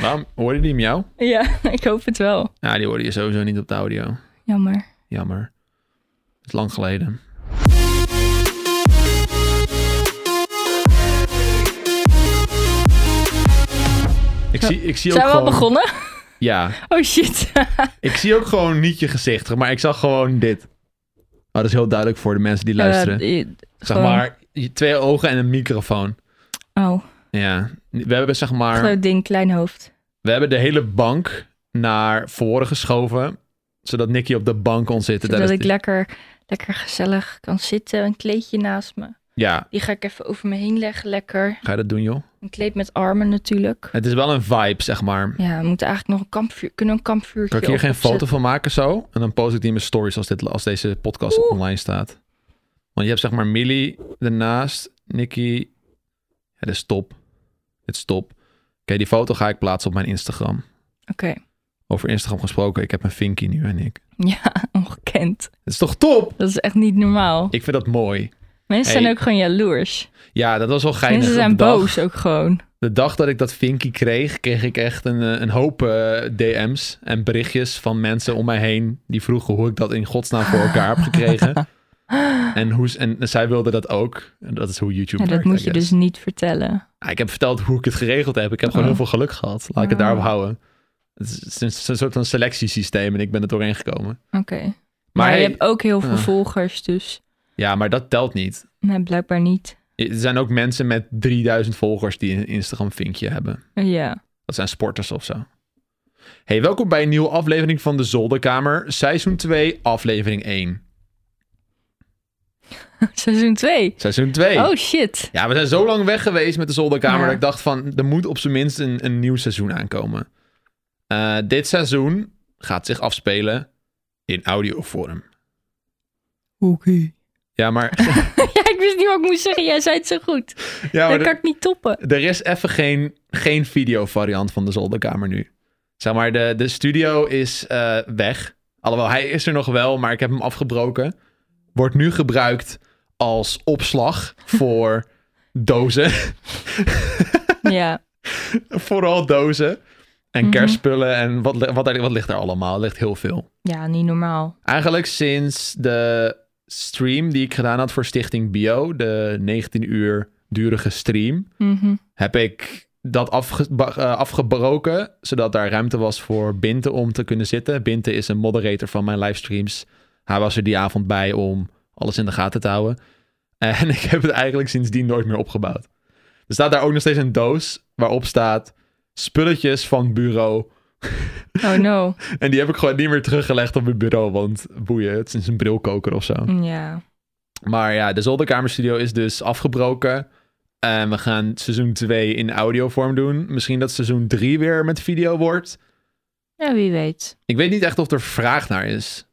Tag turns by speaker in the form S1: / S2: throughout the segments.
S1: Ja, hoorde die jou?
S2: Ja, ik hoop het wel.
S1: Ja, die hoorde je sowieso niet op de audio.
S2: Jammer.
S1: Jammer. Het is lang geleden. Ik zie, ik zie
S2: Zijn
S1: ook
S2: we al
S1: gewoon...
S2: begonnen?
S1: Ja,
S2: Oh shit.
S1: ik zie ook gewoon niet je gezicht, maar ik zag gewoon dit. Maar dat is heel duidelijk voor de mensen die luisteren.
S2: Eh, je-
S1: zeg
S2: gewoon-
S1: maar, je- twee ogen en een microfoon.
S2: Oh,
S1: Ja, we hebben zeg maar...
S2: groot ding, klein hoofd.
S1: We hebben de hele bank naar voren geschoven, zodat Nicky op de bank kon zitten.
S2: Zodat ik
S1: tijdens de-
S2: lekker, lekker gezellig kan zitten. Een kleedje naast me.
S1: Ja,
S2: Die ga ik even over me heen leggen, lekker.
S1: ga je dat doen, joh?
S2: Een kleed met armen natuurlijk.
S1: Het is wel een vibe, zeg maar.
S2: Ja, we moeten eigenlijk nog een kampvuur... Kunnen we een kampvuurtje
S1: Kan ik hier
S2: op-
S1: geen
S2: opzetten?
S1: foto van maken zo? En dan post ik die in mijn stories als, dit, als deze podcast
S2: Oeh.
S1: online staat. Want je hebt zeg maar Millie ernaast, Nicky. Ja, dit is top. Dit is top. Oké, die foto ga ik plaatsen op mijn Instagram.
S2: Oké.
S1: Over Instagram gesproken, ik heb een Vinky nu en ik.
S2: Ja, ongekend.
S1: Het is toch top?
S2: Dat is echt niet normaal.
S1: Ik vind dat mooi.
S2: Mensen
S1: Hey.
S2: zijn ook gewoon jaloers.
S1: Ja, dat was wel geinig.
S2: Mensen
S1: op
S2: zijn
S1: de dag.
S2: boos ook gewoon.
S1: De dag dat ik dat Vinky kreeg, kreeg ik echt een, eh, een hoop eh, DM's en berichtjes van mensen om mij heen. Die vroegen hoe ik dat in godsnaam voor elkaar heb gekregen. En, hoe, ze- en zij wilden dat ook. En dat is hoe YouTube
S2: Ja, dat
S1: werkt,
S2: moet
S1: I
S2: je
S1: guess.
S2: dus niet vertellen.
S1: Ah, ik heb verteld hoe ik het geregeld heb. Ik heb gewoon
S2: Oh.
S1: heel veel geluk gehad. Laat ik het
S2: Wow.
S1: daarop houden. Het is, het is een soort van selectiesysteem en ik ben er doorheen gekomen.
S2: Oké.
S1: Maar,
S2: Maar, je
S1: hey, Ah.
S2: hebt ook heel veel
S1: Ja.
S2: volgers, dus...
S1: ja, maar dat telt niet.
S2: Nee, blijkbaar niet.
S1: Er zijn ook mensen met 3000 volgers die een Instagram vinkje hebben.
S2: Ja.
S1: Dat zijn sporters of zo. Hey, welkom bij een nieuwe aflevering van de Zolderkamer, seizoen 2, aflevering 1.
S2: Seizoen 2.
S1: Seizoen 2.
S2: Oh shit.
S1: Ja, we zijn zo lang weg geweest met de Zolderkamer
S2: Ja.
S1: dat ik dacht van, er moet op zijn minst een, een nieuw seizoen aankomen. Eh, dit seizoen gaat zich afspelen in audiovorm.
S2: Oké.
S1: Ja, maar,
S2: ja, ik wist niet wat ik moest zeggen. Jij zei het zo goed.
S1: ja, maar
S2: Oh, dat kan ik niet toppen.
S1: er, er is even geen, geen videovariant van de Zolderkamer nu. Zeg maar, de, de studio is eh, weg. Alhoewel, hij is er nog wel, maar ik heb hem afgebroken. wordt nu gebruikt als opslag voor dozen.
S2: Ja.
S1: Vooral dozen. En
S2: Mhm.
S1: kerstspullen en wat, li- wat, wat ligt er allemaal? Er ligt heel veel.
S2: Ja, niet normaal.
S1: Eigenlijk sinds de stream die ik gedaan had voor Stichting Bio, de 19 uur durige stream,
S2: Mhm.
S1: heb ik dat afge- ba- eh, afgebroken, zodat daar ruimte was voor Binte om te kunnen zitten. Binte is een moderator van mijn livestreams. Hij was er die avond bij om alles in de gaten te houden. En ik heb het eigenlijk sindsdien nooit meer opgebouwd. Er staat daar ook nog steeds een doos waarop staat spulletjes van bureau.
S2: Oh no.
S1: En die heb ik gewoon niet meer teruggelegd op mijn bureau, want boeien, het is een brilkoker of zo.
S2: Ja.
S1: Maar ja, de zolderkamerstudio is dus afgebroken. En we gaan seizoen 2 in audiovorm doen. Misschien dat seizoen 3 weer met video wordt.
S2: Ja, wie weet.
S1: Ik weet niet echt of er vraag naar is.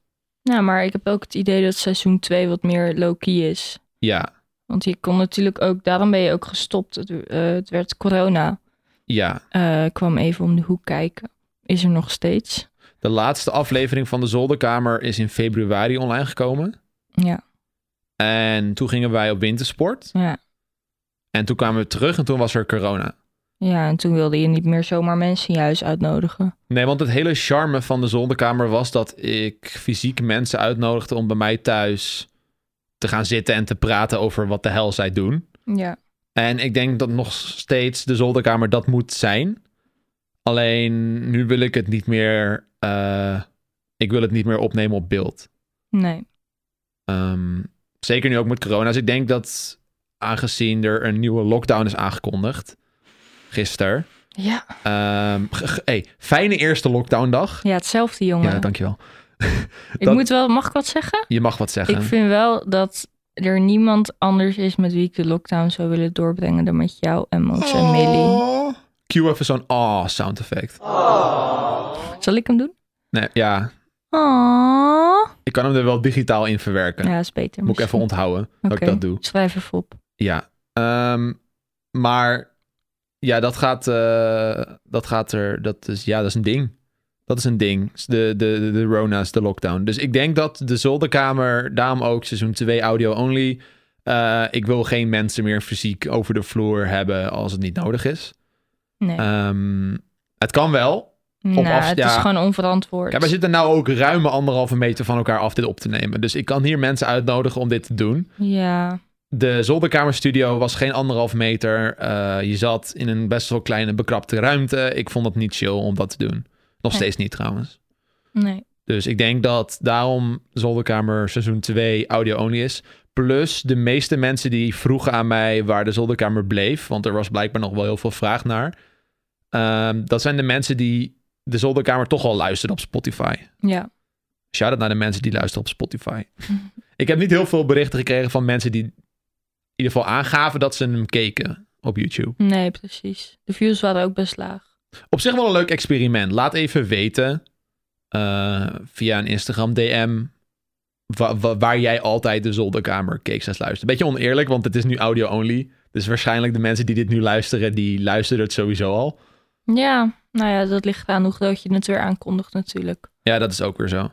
S2: Nou, maar ik heb ook het idee dat seizoen 2 wat meer low-key is.
S1: Ja,
S2: Want je kon natuurlijk ook... Daarom ben je ook gestopt. Het, eh, het werd corona.
S1: ja.
S2: Eh, kwam even om de hoek kijken. Is er nog steeds.
S1: De laatste aflevering van de zolderkamer is in februari online gekomen.
S2: Ja.
S1: En toen gingen wij op wintersport.
S2: Ja.
S1: En toen kwamen we terug en toen was er corona.
S2: Ja, en toen wilde je niet meer zomaar mensen in je huis uitnodigen.
S1: Nee, want het hele charme van de zolderkamer was dat ik fysiek mensen uitnodigde om bij mij thuis te gaan zitten en te praten over wat de hel zij doen.
S2: Ja.
S1: En ik denk dat nog steeds de zolderkamer dat moet zijn. Alleen nu wil ik het niet meer. eh, ik wil het niet meer opnemen op beeld.
S2: Nee.
S1: Ehm, zeker nu ook met corona. Dus ik denk dat aangezien er een nieuwe lockdown is aangekondigd. Gisteren.
S2: Ja.
S1: Ehm, g- g- hey, fijne eerste lockdowndag.
S2: Ja, hetzelfde jongen.
S1: Ja, dankjewel.
S2: ik
S1: dat-
S2: moet wel, mag ik wat zeggen?
S1: Je mag wat zeggen.
S2: Ik vind wel dat er niemand anders is met wie ik de lockdown zou willen doorbrengen dan met jou en Max en Millie.
S1: Oh. Cue even zo'n ah sound effect.
S2: Zal ik hem doen?
S1: Nee, ja.
S2: Oh.
S1: Ik kan hem er wel digitaal in verwerken.
S2: Ja, is beter.
S1: Moet ik even
S2: misschien.
S1: onthouden dat ik
S2: Oké,
S1: dat doe.
S2: Schrijf even op.
S1: Ja. Ehm, maar ja, dat gaat, eh, dat gaat er. Dat is, ja, dat is een ding. Dat is een ding. De, de, de, de Rona's, de lockdown. Dus ik denk dat de zolderkamer, daarom ook seizoen 2 audio only. eh, ik wil geen mensen meer fysiek over de vloer hebben als het niet nodig is.
S2: Nee.
S1: Ehm, Het kan wel.
S2: Nou,
S1: afs-
S2: het
S1: Eh, ja.
S2: is gewoon onverantwoord.
S1: Kijk, wij zitten nou ook ruime anderhalve meter van elkaar af dit op te nemen. Dus ik kan hier mensen uitnodigen om dit te doen.
S2: Ja,
S1: De zolderkamerstudio was geen anderhalf meter. Eh, je zat in een best wel kleine, bekrapte ruimte. Ik vond het niet chill om dat te doen. Nog
S2: Nee.
S1: steeds niet trouwens.
S2: nee.
S1: Dus ik denk dat daarom zolderkamer seizoen 2 audio-only is. Plus de meeste mensen die vroegen aan mij waar de zolderkamer bleef. Want er was blijkbaar nog wel heel veel vraag naar. Ehm, dat zijn de mensen die de zolderkamer toch al luisteren op Spotify.
S2: Ja.
S1: Shout out naar de mensen die luisteren op Spotify. ik heb niet heel veel berichten gekregen van mensen die in ieder geval aangaven dat ze hem keken op YouTube.
S2: Nee, precies. De views waren ook best laag.
S1: Op zich wel een leuk experiment. Laat even weten eh, via een Instagram DM wa- wa- waar jij altijd de zolderkamer keek slash luistert. Beetje oneerlijk, want het is nu audio only. Dus waarschijnlijk de mensen die dit nu luisteren, die luisteren het sowieso al.
S2: Ja, nou ja, dat ligt eraan hoe groot je het weer aankondigt natuurlijk.
S1: Ja, dat is ook weer zo.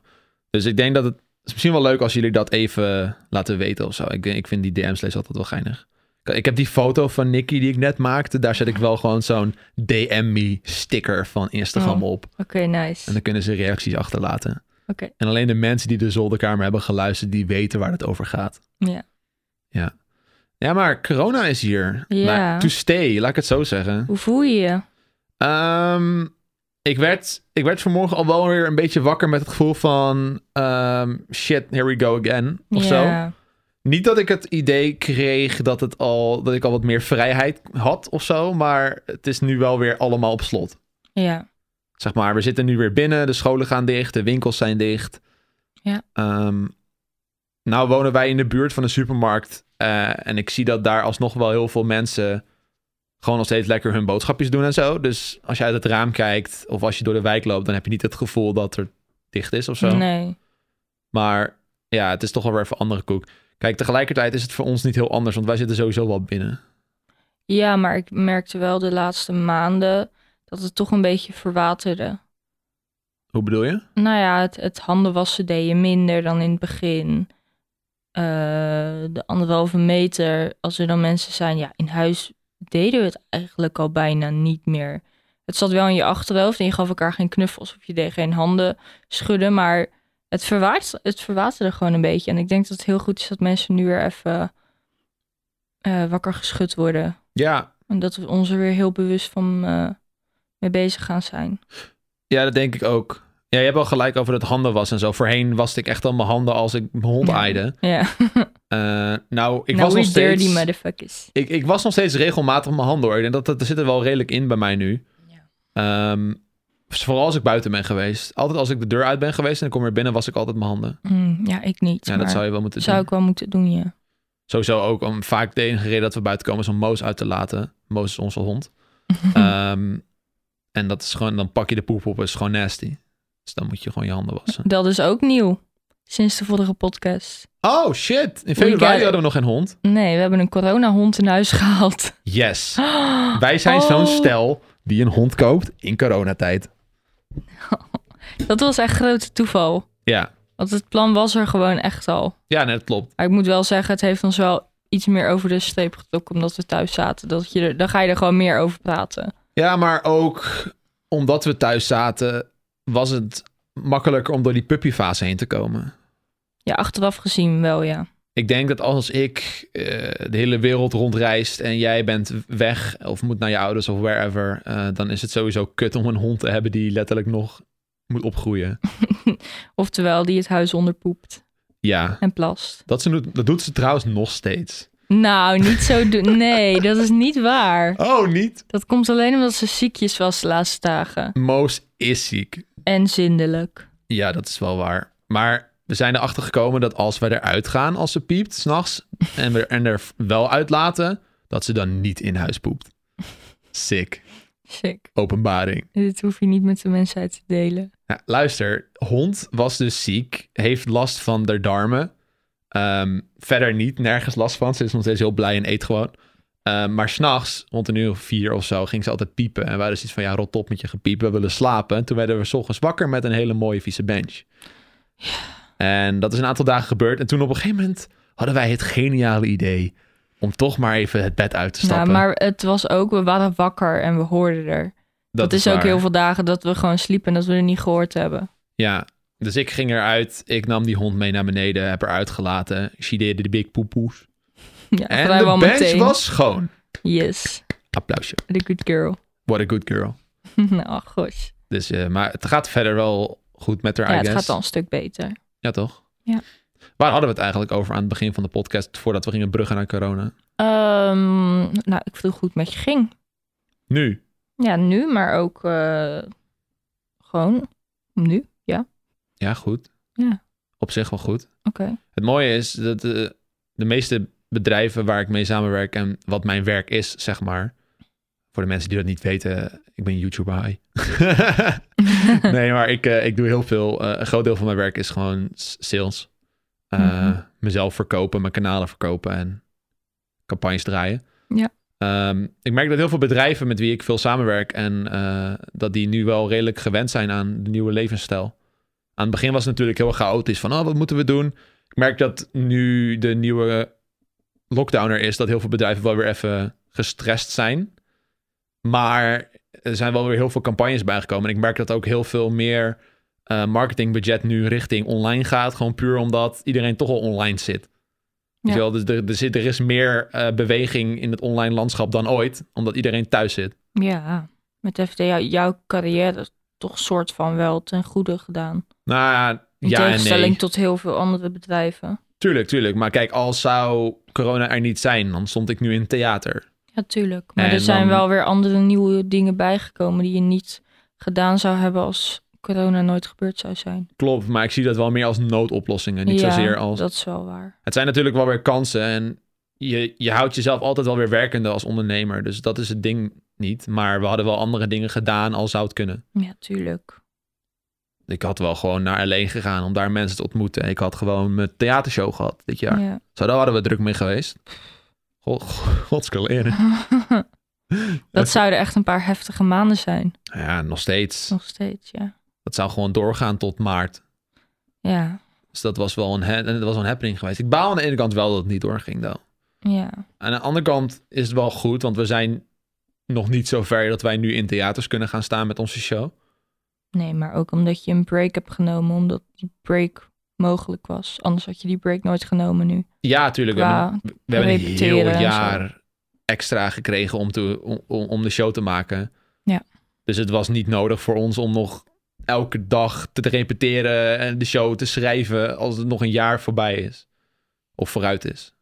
S1: Dus ik denk dat het het is misschien wel leuk als jullie dat even laten weten of zo. Ik, ik vind die DM's lees altijd wel geinig. Ik- Ik heb die foto van Nicky die ik net maakte. Daar zet ik wel gewoon zo'n DM me sticker van Instagram
S2: Oh.
S1: op.
S2: Oké, nice.
S1: En dan kunnen ze reacties achterlaten.
S2: Oké.
S1: En alleen de mensen die de zolderkamer hebben geluisterd, die weten waar het over gaat.
S2: Ja.
S1: Ja. Ja, maar corona is hier.
S2: Ja.
S1: Nou, to stay, laat ik het zo zeggen.
S2: Hoe voel je je?
S1: Ehm, ik, werd, ik werd vanmorgen al wel weer een beetje wakker met het gevoel van... ehm, shit, here we go again, of zo.
S2: Ja.
S1: Niet dat ik het idee kreeg dat, het al, dat ik al wat meer vrijheid had of zo. Maar het is nu wel weer allemaal op slot.
S2: Ja.
S1: Zeg maar, we zitten nu weer binnen, de scholen gaan dicht, de winkels zijn dicht.
S2: Ja.
S1: Ehm, nou wonen wij in de buurt van een supermarkt eh, en ik zie dat daar alsnog wel heel veel mensen gewoon nog steeds lekker hun boodschapjes doen en zo. Dus als je uit het raam kijkt of als je door de wijk loopt, dan heb je niet het gevoel dat er dicht is of zo.
S2: Nee.
S1: Maar ja, het is toch wel weer even andere koek. Kijk, tegelijkertijd is het voor ons niet heel anders, want wij zitten sowieso wel binnen.
S2: Ja, maar ik merkte wel de laatste maanden dat het toch een beetje verwaterde.
S1: Hoe bedoel je?
S2: Nou ja, het, het handen wassen deed je minder dan in het begin. Eh, de anderhalve meter, als er dan mensen zijn, ja, in huis deden we het eigenlijk al bijna niet meer. Het zat wel in je achterhoofd en je gaf elkaar geen knuffels of je deed geen handen schudden, maar het, verwaart, het verwaterde gewoon een beetje. En ik denk dat het heel goed is dat mensen nu weer even eh, wakker geschud worden.
S1: Ja,
S2: En dat we ons er weer heel bewust van eh, mee bezig gaan zijn.
S1: Ja, dat denk ik ook. Ja, je hebt wel gelijk over dat handen was en zo. Voorheen waste ik echt al mijn handen als ik mijn hond
S2: Ja.
S1: aaide.
S2: Ja,
S1: Eh, nou, ik
S2: nou
S1: was nog
S2: we dirty
S1: steeds...
S2: motherfuckers.
S1: Ik, ik was nog steeds regelmatig mijn handen hoor. Ik denk dat, dat, dat zit er wel redelijk in bij mij nu.
S2: Ja.
S1: Ehm, vooral als ik buiten ben geweest. Altijd als ik de deur uit ben geweest en ik kom weer binnen, was ik altijd mijn handen.
S2: Mm, ja, ik niet.
S1: Ja, dat zou je wel moeten doen.
S2: ik wel moeten doen, ja.
S1: Sowieso ook om, vaak de enige reden dat we buiten komen is om Moos uit te laten. Moos is onze hond. Ehm, en dat is gewoon, dan pak je de poep op, is gewoon nasty. Dus dan moet je gewoon je handen wassen.
S2: dat is ook nieuw. Sinds de vorige podcast.
S1: Oh shit, in
S2: got
S1: februari
S2: it.
S1: hadden we nog geen hond.
S2: Nee, we hebben een coronahond in huis gehaald.
S1: Yes. Wij zijn zo'n
S2: Oh.
S1: stel die een hond koopt in coronatijd.
S2: Dat was echt grote toeval.
S1: Ja,
S2: Want het plan was er gewoon echt al.
S1: ja nee, dat klopt.
S2: Maar ik moet wel zeggen, het heeft ons wel iets meer over de streep getrokken omdat we thuis zaten. Dat je er, dan ga je er gewoon meer over praten.
S1: Ja, maar ook omdat we thuis zaten, was het makkelijker om door die puppyfase heen te komen.
S2: Ja, achteraf gezien wel, ja.
S1: Ik denk dat als ik eh, de hele wereld rondreist en jij bent weg of moet naar je ouders of wherever, eh, dan is het sowieso kut om een hond te hebben die letterlijk nog moet opgroeien.
S2: Oftewel, die het huis onderpoept
S1: Ja,
S2: en plast.
S1: dat, ze, nu- dat doet ze trouwens nog steeds.
S2: Nou, niet zo doen. Nee, dat is niet waar.
S1: Oh, niet?
S2: Dat komt alleen omdat ze ziekjes was de laatste dagen.
S1: Moos is ziek.
S2: En zindelijk.
S1: Ja, dat is wel waar. Maar we zijn erachter gekomen dat als we eruit gaan, als ze piept s'nachts, en we en er wel uitlaten, dat ze dan niet in huis poept. Sick.
S2: Sick.
S1: Openbaring.
S2: Dit hoef je niet met de mensheid te delen.
S1: Ja, Nou, luister, hond was dus ziek, heeft last van de darmen. Ehm, verder niet, nergens last van. Ze is nog steeds heel blij en eet gewoon. Ehm, maar s'nachts, rond een uur of vier of zo, ging ze altijd piepen. En wij hadden zoiets van, ja, rot op met je gepiep, we willen slapen. En toen werden we 's ochtends wakker met een hele mooie vieze bench. En dat is een aantal dagen gebeurd. En toen op een gegeven moment hadden wij het geniale idee om
S2: Nou,
S1: toch maar even het bed uit te stappen.
S2: Ja, maar het was ook, we waren wakker en we hoorden er. Dat, is, ook
S1: waar.
S2: heel veel dagen dat we gewoon sliepen en dat we er niet gehoord hebben.
S1: Ja, dus ik ging eruit. Ik nam die hond mee naar beneden. Heb haar uitgelaten. She did the big poepoes.
S2: Ja, dat
S1: En
S2: waren we al
S1: de bench
S2: meteen.
S1: was schoon.
S2: Yes,
S1: Applausje.
S2: the good girl.
S1: What a good girl.
S2: nou, gosh.
S1: Dus, eh, maar het gaat verder wel goed met haar,
S2: Ja,
S1: I
S2: het
S1: guess.
S2: gaat al een stuk beter.
S1: Ja, toch?
S2: Ja.
S1: Waar hadden we het eigenlijk over aan het begin van de podcast... voordat we gingen bruggen naar corona?
S2: Ehm, nou, ik voel goed met je ging.
S1: Nu.
S2: Ja, nu, maar ook eh, gewoon nu. Ja, oké.
S1: Ja, goed.
S2: Ja.
S1: Op zich wel goed. Het mooie is dat eh, de meeste bedrijven waar ik mee samenwerk... en wat mijn werk is, zeg maar... voor de mensen die dat niet weten... ik ben YouTuber high. nee, maar ik, eh, ik doe heel veel... eh, een groot deel van mijn werk is gewoon s- sales. Eh,
S2: Mhm.
S1: Mezelf verkopen, mijn kanalen verkopen... en campagnes draaien.
S2: Ja.
S1: Ehm, ik merk dat heel veel bedrijven met wie ik veel samenwerk en eh, dat die nu wel redelijk gewend zijn aan de nieuwe levensstijl. Aan het begin was het natuurlijk heel chaotisch van, oh, wat moeten we doen? Ik merk dat nu de nieuwe lockdown er is, dat heel veel bedrijven wel weer even gestrest zijn. Maar er zijn wel weer heel veel campagnes bijgekomen. En ik merk dat ook heel veel meer eh, marketingbudget nu richting online gaat. Gewoon puur omdat iedereen toch al online zit. Weet
S2: Ja.
S1: je wel, dus er, er, zit, er is meer eh, beweging in het online landschap dan ooit, omdat iedereen thuis zit.
S2: Ja, met FD, jou- jouw carrière is toch soort van wel ten goede gedaan.
S1: Nou ja,
S2: In
S1: ja en
S2: tegenstelling
S1: nee.
S2: tot heel veel andere bedrijven.
S1: Tuurlijk, tuurlijk. Maar kijk, als zou corona er niet zijn, dan stond ik nu in theater.
S2: Ja, tuurlijk. Maar
S1: En
S2: er zijn
S1: dan-
S2: wel weer andere nieuwe dingen bijgekomen die je niet gedaan zou hebben als corona nooit gebeurd zou zijn.
S1: Klopt, maar ik zie dat wel meer als noodoplossingen. Niet
S2: ja,
S1: zozeer als...
S2: dat is wel waar.
S1: Het zijn natuurlijk wel weer kansen en je, je houdt jezelf altijd wel weer werkende als ondernemer. Dus dat is het ding niet. Maar we hadden wel andere dingen gedaan als zou het kunnen.
S2: Ja, tuurlijk.
S1: Ik had wel gewoon naar L.A. gegaan om daar mensen te ontmoeten. Ik had gewoon mijn theatershow gehad dit jaar.
S2: Ja.
S1: Zo, daar hadden we druk mee geweest. God, godskaleren.
S2: dat zouden echt een paar heftige maanden zijn.
S1: Ja, nog steeds.
S2: Nog steeds, ja.
S1: Dat zou gewoon doorgaan tot maart.
S2: Ja,
S1: Dus dat was wel een, ha- dat was wel een happening geweest. Ik baal aan de ene kant wel dat het niet doorging dan.
S2: ja.
S1: Aan de andere kant is het wel goed, want we zijn nog niet zo ver dat wij nu in theaters kunnen gaan staan met onze show.
S2: Nee, maar ook omdat je een break hebt genomen, omdat die break mogelijk was. Anders had je die break nooit genomen nu.
S1: Ja, tuurlijk. We hebben,
S2: Qua,
S1: we hebben een
S2: repeteren
S1: heel
S2: en zo.
S1: jaar extra gekregen om, te, om, om- om de show te maken.
S2: Ja.
S1: Dus het was niet nodig voor ons om nog elke dag te repeteren en de show te schrijven als het nog een jaar voorbij is. Of vooruit is.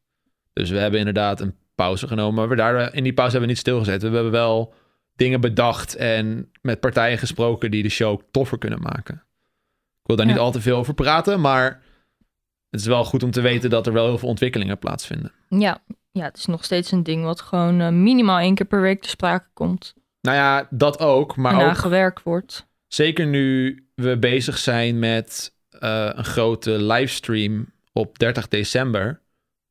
S1: Dus we hebben inderdaad een pauze genomen. Maar we daar, in die pauze hebben we niet stilgezeten. We hebben wel dingen bedacht en met partijen gesproken die de show toffer kunnen maken. Ik wil daar niet
S2: Ja.
S1: al te veel over praten, maar het is wel goed om te weten dat er wel heel veel ontwikkelingen plaatsvinden.
S2: ja, ja, het is nog steeds een ding wat gewoon eh, minimaal één keer per week te sprake komt.
S1: Nou ja, dat ook. Maar
S2: en aan
S1: ook
S2: gewerkt wordt.
S1: zeker nu we bezig zijn met eh, een grote livestream op 30 december.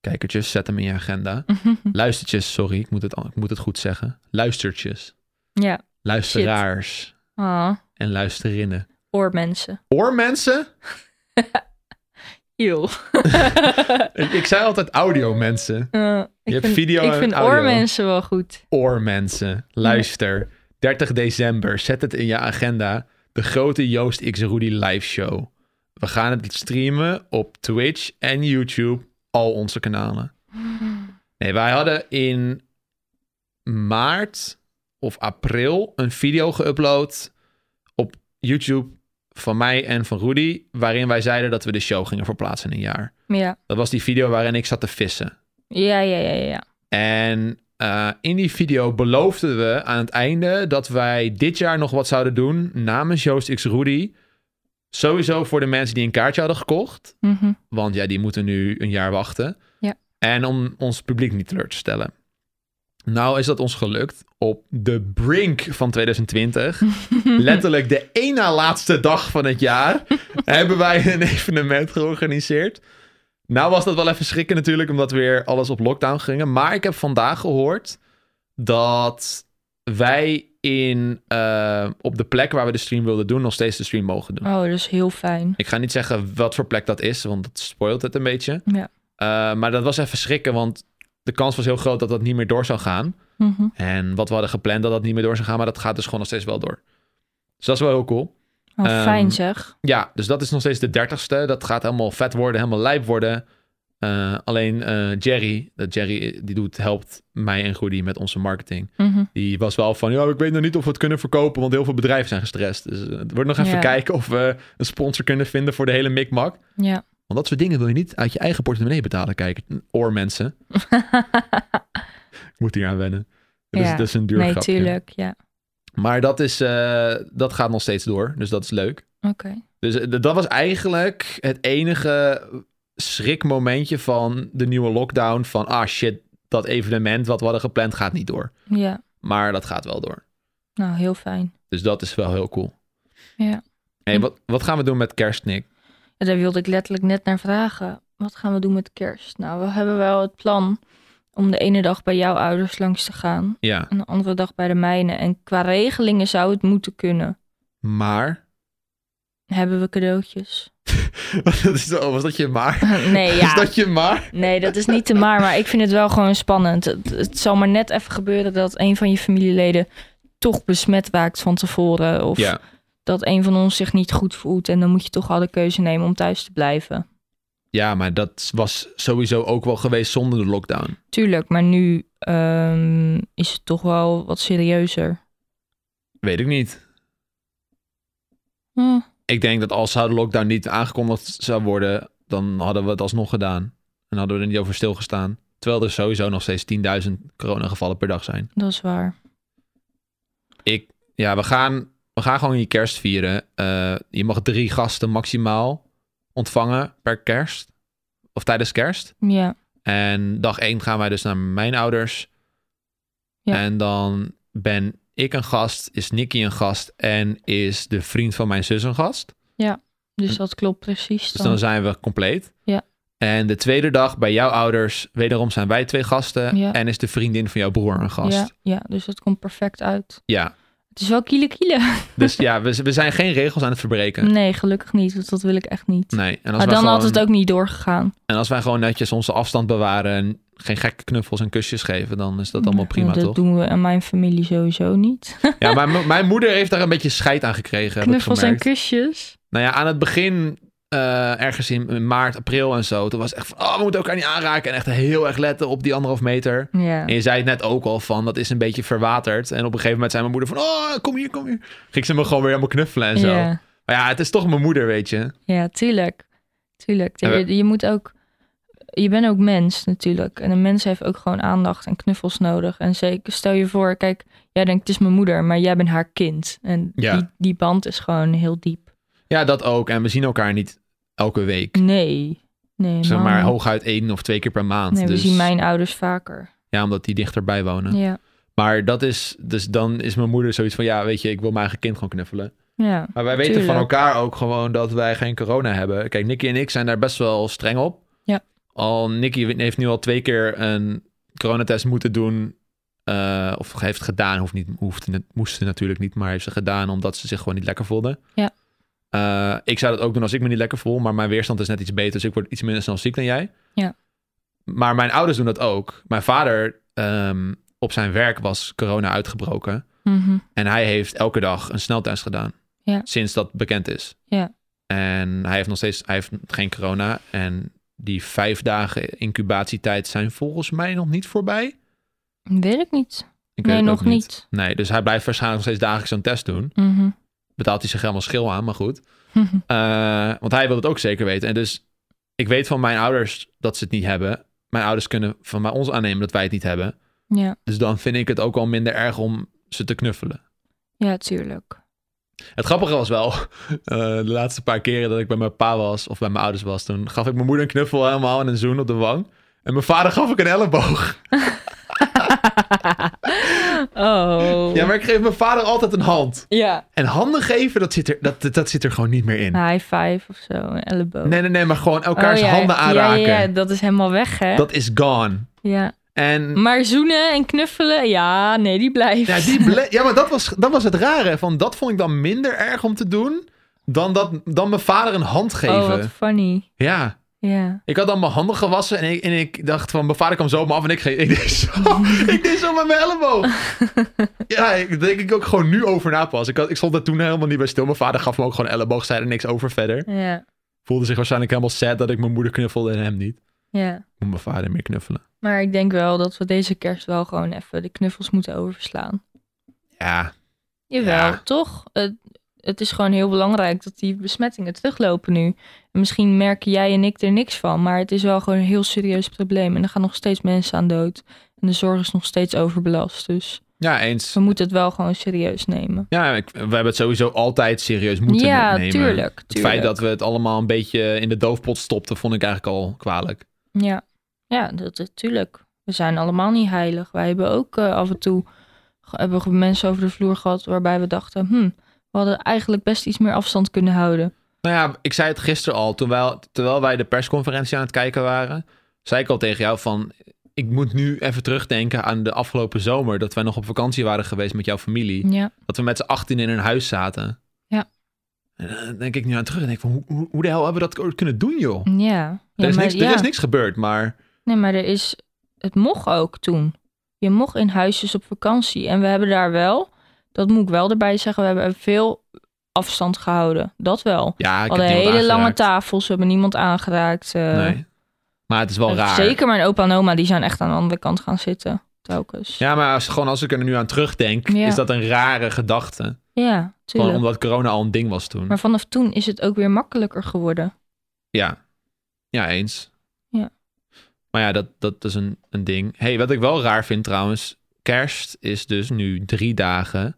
S1: Kijkertjes, zet hem in je agenda. Luistertjes, sorry, ik moet het, al- ik moet het goed zeggen. Luistertjes.
S2: ja,
S1: Luisteraars
S2: ah,
S1: en luisterinnen.
S2: oormensen.
S1: Oormensen?
S2: Eeuw. Eh,
S1: Ik, ik zei altijd audio mensen.
S2: Eh,
S1: Je
S2: ik
S1: hebt
S2: vind,
S1: video
S2: Ik
S1: en
S2: vind
S1: audio.
S2: oormensen wel goed.
S1: Oormensen. Luister. 30 december. Zet het in je agenda. De grote Joost X Rudy live show. We gaan het streamen op Twitch en YouTube. Al onze kanalen. Nee, wij hadden in maart of april een video geüpload op YouTube van mij en van Rudy. Waarin wij zeiden dat we de show gingen verplaatsen in een jaar.
S2: Ja,
S1: Dat was die video waarin ik zat te vissen.
S2: ja, ja, ja. ja.
S1: En eh, in die video beloofden we aan het einde dat wij dit jaar nog wat zouden doen namens Joost X Rudy. Sowieso voor de mensen die een kaartje hadden gekocht.
S2: Mhm.
S1: Want ja, die moeten nu een jaar wachten.
S2: Ja.
S1: En om ons publiek niet teleur te stellen. Nou is dat ons gelukt op de brink van 2020. Letterlijk de één na laatste dag van het jaar hebben wij een evenement georganiseerd. Nou was dat wel even schrikken natuurlijk, omdat weer alles op lockdown gingen. Maar ik heb vandaag gehoord dat wij in, eh, op de plek waar we de stream wilden doen, nog steeds de stream mogen doen.
S2: Oh, dat is heel fijn.
S1: Ik ga niet zeggen wat voor plek dat is, want dat spoilt het een beetje.
S2: Ja.
S1: Eh, maar dat was even schrikken, want de kans was heel groot dat dat niet meer door zou gaan.
S2: Mhm.
S1: En wat we hadden gepland dat dat niet meer door zou gaan, maar dat gaat dus gewoon nog steeds wel door. Dus dat is wel heel cool.
S2: Wat
S1: Ehm,
S2: Oh, fijn zeg.
S1: Ja, dus dat is nog steeds de dertigste. Dat gaat helemaal vet worden, helemaal lijp worden. Eh, alleen eh, Jerry, dat Jerry eh, die doet, helpt mij en Goody met onze marketing.
S2: Mhm.
S1: Die was wel van, ja, ik weet nog niet of we het kunnen verkopen, want heel veel bedrijven zijn gestrest. Dus eh, het wordt nog even
S2: Ja.
S1: kijken of we een sponsor kunnen vinden voor de hele mikmak.
S2: Ja.
S1: Want dat soort dingen wil je niet uit je eigen portemonnee betalen, kijk, oor mensen. Ik moet hier aan wennen. Dat, is,
S2: Ja,
S1: dat is een duur
S2: nee,
S1: grapje.
S2: tuurlijk. Ja.
S1: Maar dat, is, eh, dat gaat nog steeds door, dus dat is leuk.
S2: Oké.
S1: Dus eh, dat was eigenlijk het enige schrikmomentje van de nieuwe lockdown. Van, ah shit, dat evenement wat we hadden gepland gaat niet door.
S2: Ja.
S1: Maar dat gaat wel door.
S2: Nou, heel fijn.
S1: Dus dat is wel heel cool.
S2: Ja.
S1: Hey, wat, wat gaan we doen met kerst, Nick?
S2: Ja, daar wilde ik letterlijk net naar vragen. Wat gaan we doen met kerst? Nou, we hebben wel het plan om de ene dag bij jouw ouders langs te gaan.
S1: Ja,
S2: En de andere dag bij de mijne. En qua regelingen zou het moeten kunnen.
S1: maar...
S2: Hebben we cadeautjes?
S1: Wat is dat, was dat je maar?
S2: nee,
S1: Is
S2: ja.
S1: dat je maar?
S2: Nee, dat is niet te maar. Maar ik vind het wel gewoon spannend. Het, het zal maar net even gebeuren dat een van je familieleden toch besmet raakt van tevoren. Of
S1: Ja,
S2: dat een van ons zich niet goed voelt. En dan moet je toch al de keuze nemen om thuis te blijven.
S1: ja, maar dat was sowieso ook wel geweest zonder de lockdown.
S2: Tuurlijk, maar nu ehm, is het toch wel wat serieuzer.
S1: Weet ik niet.
S2: Hm,
S1: Ik denk dat als zou de lockdown niet aangekondigd zou worden, dan hadden we het alsnog gedaan. En hadden we er niet over stilgestaan. Terwijl er sowieso nog steeds 10.000 coronagevallen per dag zijn.
S2: dat is waar.
S1: Ik, ja, we gaan, we gaan gewoon je kerst vieren. Eh, je mag drie gasten maximaal ontvangen per kerst. Of tijdens kerst.
S2: Ja,
S1: En dag één gaan wij dus naar mijn ouders.
S2: Ja.
S1: En dan ben ik een gast, is Nicky een gast en is de vriend van mijn zus een gast.
S2: dus dat klopt precies.
S1: Dus dan
S2: Dan.
S1: zijn we compleet.
S2: Ja.
S1: En de tweede dag bij jouw ouders, wederom zijn wij twee gasten.
S2: Ja.
S1: En is de vriendin van jouw broer een gast.
S2: Ja,
S1: Ja.
S2: ja, dus dat komt perfect uit. Het is wel kiele kiele.
S1: Dus ja, we, we zijn geen regels aan het verbreken.
S2: Nee, gelukkig niet, want dat wil ik echt niet.
S1: Nee. En als,
S2: Mm. Maar
S1: wij
S2: dan
S1: gewoon,
S2: had het ook niet doorgegaan.
S1: en als wij gewoon netjes onze afstand bewaren en geen gekke knuffels en kusjes geven, dan is dat allemaal
S2: Ja,
S1: prima,
S2: dat
S1: toch?
S2: doen we en mijn familie sowieso niet.
S1: Ja, maar m- mijn moeder heeft daar een beetje scheid aan gekregen. heb ik
S2: Knuffels en
S1: gemerkt.
S2: kusjes.
S1: Nou ja, aan het begin, eh, ergens in, in maart, april en zo, toen was het echt van, oh, we moeten elkaar niet aanraken. En echt heel erg letten op die anderhalf meter.
S2: Ja.
S1: En je zei het net ook al van, dat is een beetje verwaterd. En op een gegeven moment zei mijn moeder van, oh, kom hier, kom hier. Ging ze me gewoon weer helemaal knuffelen en zo.
S2: Ja,
S1: Maar ja, het is toch mijn moeder, weet je.
S2: ja tuurlijk. Tuurlijk.
S1: En
S2: Je, je moet ook... Je bent ook mens natuurlijk. En een mens heeft ook gewoon aandacht en knuffels nodig. En zeker, stel je voor, kijk, jij denkt het is mijn moeder, maar jij bent haar kind. En
S1: Ja.
S2: die, die band is gewoon heel diep.
S1: Ja, dat ook. En we zien elkaar niet elke week.
S2: Nee. Nee,
S1: Zeg
S2: man.
S1: maar hooguit één of twee keer per maand.
S2: Nee, we
S1: dus,
S2: zien mijn ouders vaker.
S1: Ja, omdat die dichterbij wonen.
S2: Ja.
S1: Maar dat is, dus dan is mijn moeder zoiets van, ja, weet je, ik wil mijn eigen kind gewoon knuffelen.
S2: Ja.
S1: Maar wij weten van
S2: Tuurlijk.
S1: elkaar ook gewoon dat wij geen corona hebben. Kijk, Nicky en ik zijn daar best wel streng op.
S2: Ja.
S1: Al Nicky heeft nu al twee keer een coronatest moeten doen. eh, of heeft gedaan, hoeft niet, hoeft, moest ze natuurlijk niet, maar heeft ze gedaan omdat ze zich gewoon niet lekker voelde.
S2: Ja.
S1: Eh, ik zou dat ook doen als ik me niet lekker voel, maar mijn weerstand is net iets beter, dus ik word iets minder snel ziek dan jij.
S2: Ja.
S1: Maar mijn ouders doen dat ook. Mijn vader ehm, op zijn werk was corona uitgebroken.
S2: Mhm.
S1: En hij heeft elke dag een sneltest gedaan.
S2: Ja.
S1: Sinds dat bekend is.
S2: Ja.
S1: En hij heeft nog steeds hij heeft geen corona. En die vijf dagen incubatietijd zijn volgens mij nog niet voorbij. Ik
S2: Weet ik niet.
S1: weet
S2: nee,
S1: het
S2: nog
S1: ook
S2: niet.
S1: Nee, dus hij blijft waarschijnlijk nog steeds dagelijks zo'n test doen.
S2: Mhm.
S1: Betaalt hij zich helemaal schil aan, maar goed. Eh, want hij wil het ook zeker weten. En dus ik weet van mijn ouders dat ze het niet hebben. Mijn ouders kunnen van mij ons aannemen dat wij het niet hebben.
S2: ja.
S1: Dus dan vind ik het ook al minder erg om ze te knuffelen.
S2: ja, tuurlijk.
S1: Het grappige was wel, eh, de laatste paar keren dat ik bij mijn pa was of bij mijn ouders was, toen gaf ik mijn moeder een knuffel helemaal en een zoen op de wang. En mijn vader gaf ik een elleboog.
S2: oh.
S1: Ja, maar ik geef mijn vader altijd een hand.
S2: Ja.
S1: En handen geven, dat zit er, dat, dat, dat zit er gewoon niet meer in.
S2: Een high five of zo, een elleboog.
S1: Nee, nee, nee, maar gewoon elkaars
S2: Nou. Oh, ja.
S1: handen aanraken.
S2: Ja, ja, ja, dat is helemaal weg, hè?
S1: Dat is gone.
S2: Ja.
S1: En
S2: Maar zoenen en knuffelen, ja, nee, die blijft.
S1: ja, die ble- ja maar dat was, dat was het rare. Van, dat vond ik dan minder erg om te doen dan, dat, dan mijn vader een hand geven.
S2: Oh, wat Oh, funny.
S1: Ja,
S2: Ja.
S1: Ik had dan mijn handen gewassen en ik, en ik dacht van, mijn vader kwam zo op me af en ik, ging- ik deed zo, ik deed zo met mijn elleboog. Ja, ik daar denk ik ook gewoon nu over na pas. Ik, had, ik stond daar toen helemaal niet bij stil. Mijn vader gaf me ook gewoon elleboog, zei er niks over verder.
S2: Ja.
S1: Voelde zich waarschijnlijk helemaal sad dat ik mijn moeder knuffelde en hem niet.
S2: Ja.
S1: Ik moet mijn vader meer knuffelen.
S2: Maar ik denk wel dat we deze kerst wel gewoon even de knuffels moeten overslaan.
S1: Ja,
S2: Jawel,
S1: Ja.
S2: toch? Het, het is gewoon heel belangrijk dat die besmettingen teruglopen nu. En misschien merken jij en ik er niks van, maar het is wel gewoon een heel serieus probleem. En er gaan nog steeds mensen aan dood. En de zorg is nog steeds overbelast. Dus
S1: ja eens.
S2: we moeten het wel gewoon serieus nemen.
S1: Ja, ik- we hebben het sowieso altijd serieus moeten
S2: ja,
S1: nemen.
S2: tuurlijk. tuurlijk.
S1: Het feit dat we het allemaal een beetje in de doofpot stopten, vond ik eigenlijk al kwalijk.
S2: Ja, ja dat natuurlijk. We zijn allemaal niet heilig. Wij hebben ook eh, af en toe ge- hebben we mensen over de vloer gehad waarbij we dachten, hm, we hadden eigenlijk best iets meer afstand kunnen houden.
S1: Nou ja, ik zei het gisteren al, terwijl, terwijl wij de persconferentie aan het kijken waren, zei ik al tegen jou van, ik moet nu even terugdenken aan de afgelopen zomer, dat wij nog op vakantie waren geweest met jouw familie.
S2: Ja,
S1: Dat we met z'n 18 in een huis zaten.
S2: Ja.
S1: En dan denk ik nu aan terug en denk van, hoe- hoe, hoe de hel hebben we dat kunnen doen, joh?
S2: ja. ja
S1: er, is
S2: maar,
S1: niks,
S2: ja.
S1: er is niks gebeurd, maar
S2: Nee, maar er is, het mocht ook toen. Je mocht in huisjes op vakantie. En we hebben daar wel, dat moet ik wel erbij zeggen, we hebben veel afstand gehouden. Dat wel.
S1: ja, ik
S2: We hadden
S1: heb
S2: hele
S1: niemand
S2: lange
S1: aangeraakt.
S2: tafels, we hebben niemand aangeraakt. eh.
S1: Nee. Maar het is wel
S2: En
S1: raar.
S2: Zeker mijn opa en oma, die zijn echt aan de andere kant gaan zitten. Telkens.
S1: Ja, maar als, gewoon als ik er nu aan terugdenk,
S2: Ja.
S1: is dat een rare gedachte.
S2: Ja,
S1: Gewoon
S2: tuurlijk.
S1: omdat corona al een ding was toen.
S2: Maar vanaf toen is het ook weer makkelijker geworden.
S1: Ja. Ja, eens.
S2: Ja.
S1: Maar ja, dat, dat is een, een ding. hey, wat ik wel raar vind trouwens. Kerst is dus nu drie dagen.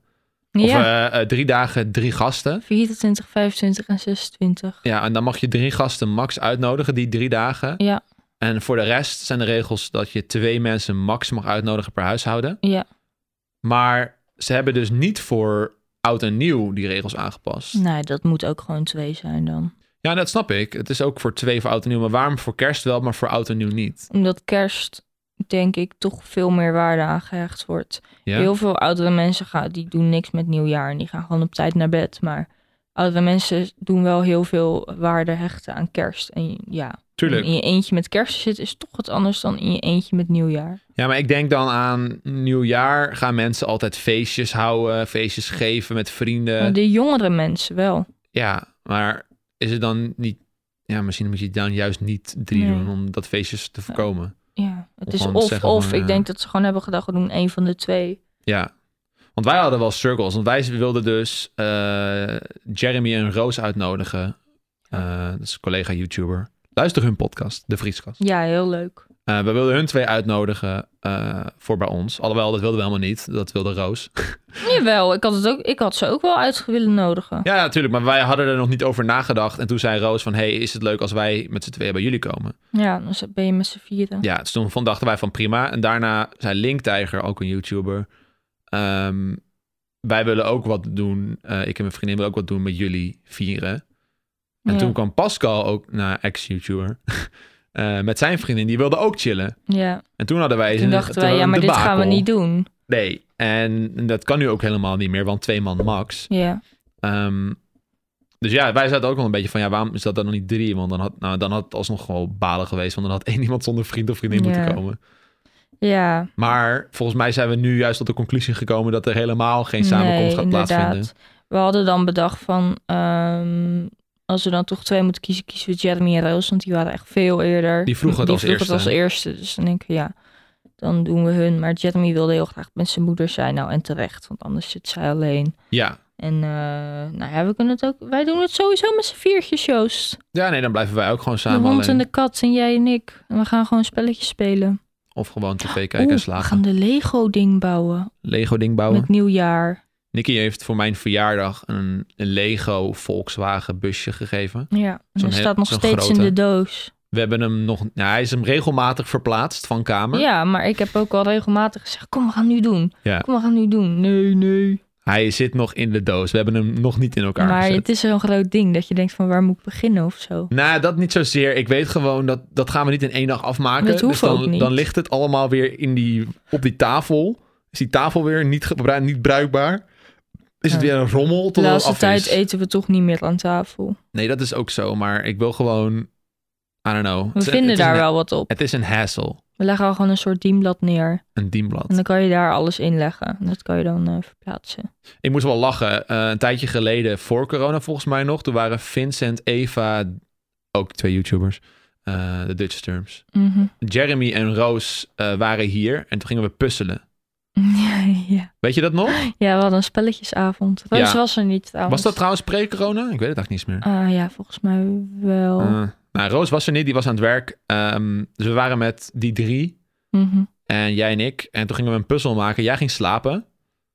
S1: Of
S2: ja,
S1: eh, eh, drie dagen, drie gasten.
S2: 24, 25 en 26.
S1: Ja, en dan mag je drie gasten max uitnodigen, die drie dagen.
S2: Ja.
S1: En voor de rest zijn de regels dat je twee mensen max mag uitnodigen per huishouden.
S2: Ja.
S1: Maar ze hebben dus niet voor oud en nieuw die regels aangepast.
S2: Nee, dat moet ook gewoon twee zijn dan.
S1: Ja, dat snap ik. Het is ook voor twee voor oud en nieuw. Maar waarom voor kerst wel, maar voor oud en nieuw niet?
S2: Omdat kerst, denk ik, toch veel meer waarde aangehecht wordt.
S1: Ja?
S2: Heel veel oudere mensen gaan, die doen niks met nieuwjaar en die gaan gewoon op tijd naar bed. Maar oudere mensen doen wel heel veel waarde hechten aan kerst. En ja,
S1: Tuurlijk.
S2: in je eentje met kerst zitten is toch wat anders dan in je eentje met nieuwjaar.
S1: Ja, maar ik denk dan aan nieuwjaar gaan mensen altijd feestjes houden, feestjes geven met
S2: Maar
S1: vrienden.
S2: de jongere mensen wel.
S1: Ja, maar is het dan niet... Ja, misschien moet je het dan juist niet drie
S2: Nee.
S1: doen om dat feestjes te voorkomen.
S2: Ja, het
S1: Of
S2: is
S1: gewoon
S2: of
S1: zeggen van, eh,
S2: of.
S1: ja.
S2: Ik denk dat ze gewoon hebben gedacht, we doen één van de twee.
S1: Ja. Want wij hadden wel circles. Want wij wilden dus eh, Jeremy en Roos uitnodigen. Eh, dat is een collega YouTuber. Luister hun podcast, De Vrieskast.
S2: Ja, heel leuk.
S1: Eh, we wilden hun twee uitnodigen eh, voor bij ons. Alhoewel, dat wilden we helemaal niet. Dat wilde Roos.
S2: Jawel, ik had, het ook, ik had ze ook wel uit willen nodigen.
S1: ja, natuurlijk. Maar wij hadden er nog niet over nagedacht. En toen zei Roos van... hey, is het leuk als wij met z'n tweeën bij jullie komen?
S2: Ja, dan zit- ben je met z'n vieren.
S1: Ja, dus toen van, dachten wij van prima. En daarna zei Linktijger, ook een YouTuber... ehm, wij willen ook wat doen. Eh, ik en mijn vriendin willen ook wat doen met jullie vieren. En
S2: Ja.
S1: toen kwam Pascal ook, nou, ex-YouTuber... eh, met zijn vriendin, die wilde ook chillen.
S2: Ja.
S1: En toen hadden wij... eens
S2: Toen
S1: een-
S2: dachten
S1: toen
S2: wij,
S1: een
S2: ja, maar dit gaan we
S1: debakel.
S2: niet doen.
S1: Nee, en dat kan nu ook helemaal niet meer, want twee man max.
S2: Ja,
S1: Ehm, dus ja, wij zaten ook wel een beetje van, ja, waarom is dat dan nog niet drie? Want dan had, nou, dan had het alsnog wel balen geweest, want dan had één iemand zonder vriend of vriendin
S2: Ja.
S1: moeten komen.
S2: ja
S1: Maar volgens mij zijn we nu juist tot de conclusie gekomen dat er helemaal geen samenkomst
S2: nee,
S1: gaat plaatsvinden.
S2: We hadden dan bedacht van, ehm, als we dan toch twee moeten kiezen, kiezen we Jeremy en Roos. Want die waren echt veel eerder.
S1: Die vroegen het als
S2: vroegen
S1: eerste.
S2: als eerste. Dus dan denk ik, ja, dan doen we hun. Maar Jeremy wilde heel graag met zijn moeder zijn. Nou, en terecht, want anders zit zij alleen.
S1: Ja.
S2: En eh, nou ja, we kunnen het ook. Wij doen het sowieso met z'n viertjes, Joost.
S1: ja, nee, dan blijven wij ook gewoon
S2: de
S1: samen
S2: hond
S1: alleen.
S2: en de kat en jij en ik. En we gaan gewoon spelletjes spelen.
S1: Of gewoon tv kijken
S2: Oeh,
S1: en Oh.
S2: we
S1: slapen.
S2: gaan de Lego-ding bouwen.
S1: Lego ding bouwen.
S2: Met nieuwjaar.
S1: Nicky heeft voor mijn verjaardag een, een Lego Volkswagen busje gegeven.
S2: Ja, en
S1: Zo'n
S2: hij
S1: heel-
S2: staat nog
S1: zo'n
S2: steeds in
S1: grote.
S2: de doos.
S1: We hebben hem nog, nou, hij is hem regelmatig verplaatst van kamer.
S2: Ja, maar ik heb ook al regelmatig gezegd: kom, we gaan nu doen.
S1: Ja.
S2: Kom, we gaan nu doen. Nee, nee.
S1: Hij zit nog in de doos. We hebben hem nog niet in elkaar
S2: maar
S1: gezet.
S2: het is zo'n groot ding dat je denkt: van waar moet ik beginnen of zo?
S1: Nou, dat niet zozeer. Ik weet gewoon dat dat gaan we niet in één dag afmaken.
S2: Dat hoeft
S1: dus dan,
S2: ook niet.
S1: dan ligt het allemaal weer in die, op die tafel. Is die tafel weer niet, gebru- niet bruikbaar? Is het
S2: Ja.
S1: weer een rommel
S2: De
S1: tot het
S2: laatste
S1: af
S2: tijd e-
S1: is?
S2: eten we toch niet meer aan tafel.
S1: Nee, dat is ook zo. Maar ik wil gewoon I don't know.
S2: We vinden daar wel wat op.
S1: Het is een hassle,
S2: We leggen al gewoon een soort dienblad neer.
S1: een dienblad.
S2: En dan kan je daar alles in leggen. En dat kan je dan eh, verplaatsen.
S1: Ik moest wel lachen. Eh, een tijdje geleden, voor corona volgens mij nog, toen waren Vincent, Eva, ook twee YouTubers, eh, de Dutch Terms.
S2: Mhm.
S1: Jeremy en Roos eh, waren hier en toen gingen we puzzelen.
S2: ja, ja.
S1: Weet je dat nog?
S2: ja, we hadden een spelletjesavond. Roos
S1: Ja.
S2: was er niet trouwens.
S1: Was dat trouwens pre-corona? Ik weet het eigenlijk niet meer.
S2: Ah, ja, volgens mij wel.
S1: Eh, nou, Roos was er niet, die was aan het werk. Ehm, dus we waren met die drie
S2: Mhm.
S1: en jij en ik. En toen gingen we een puzzel maken. Jij ging slapen.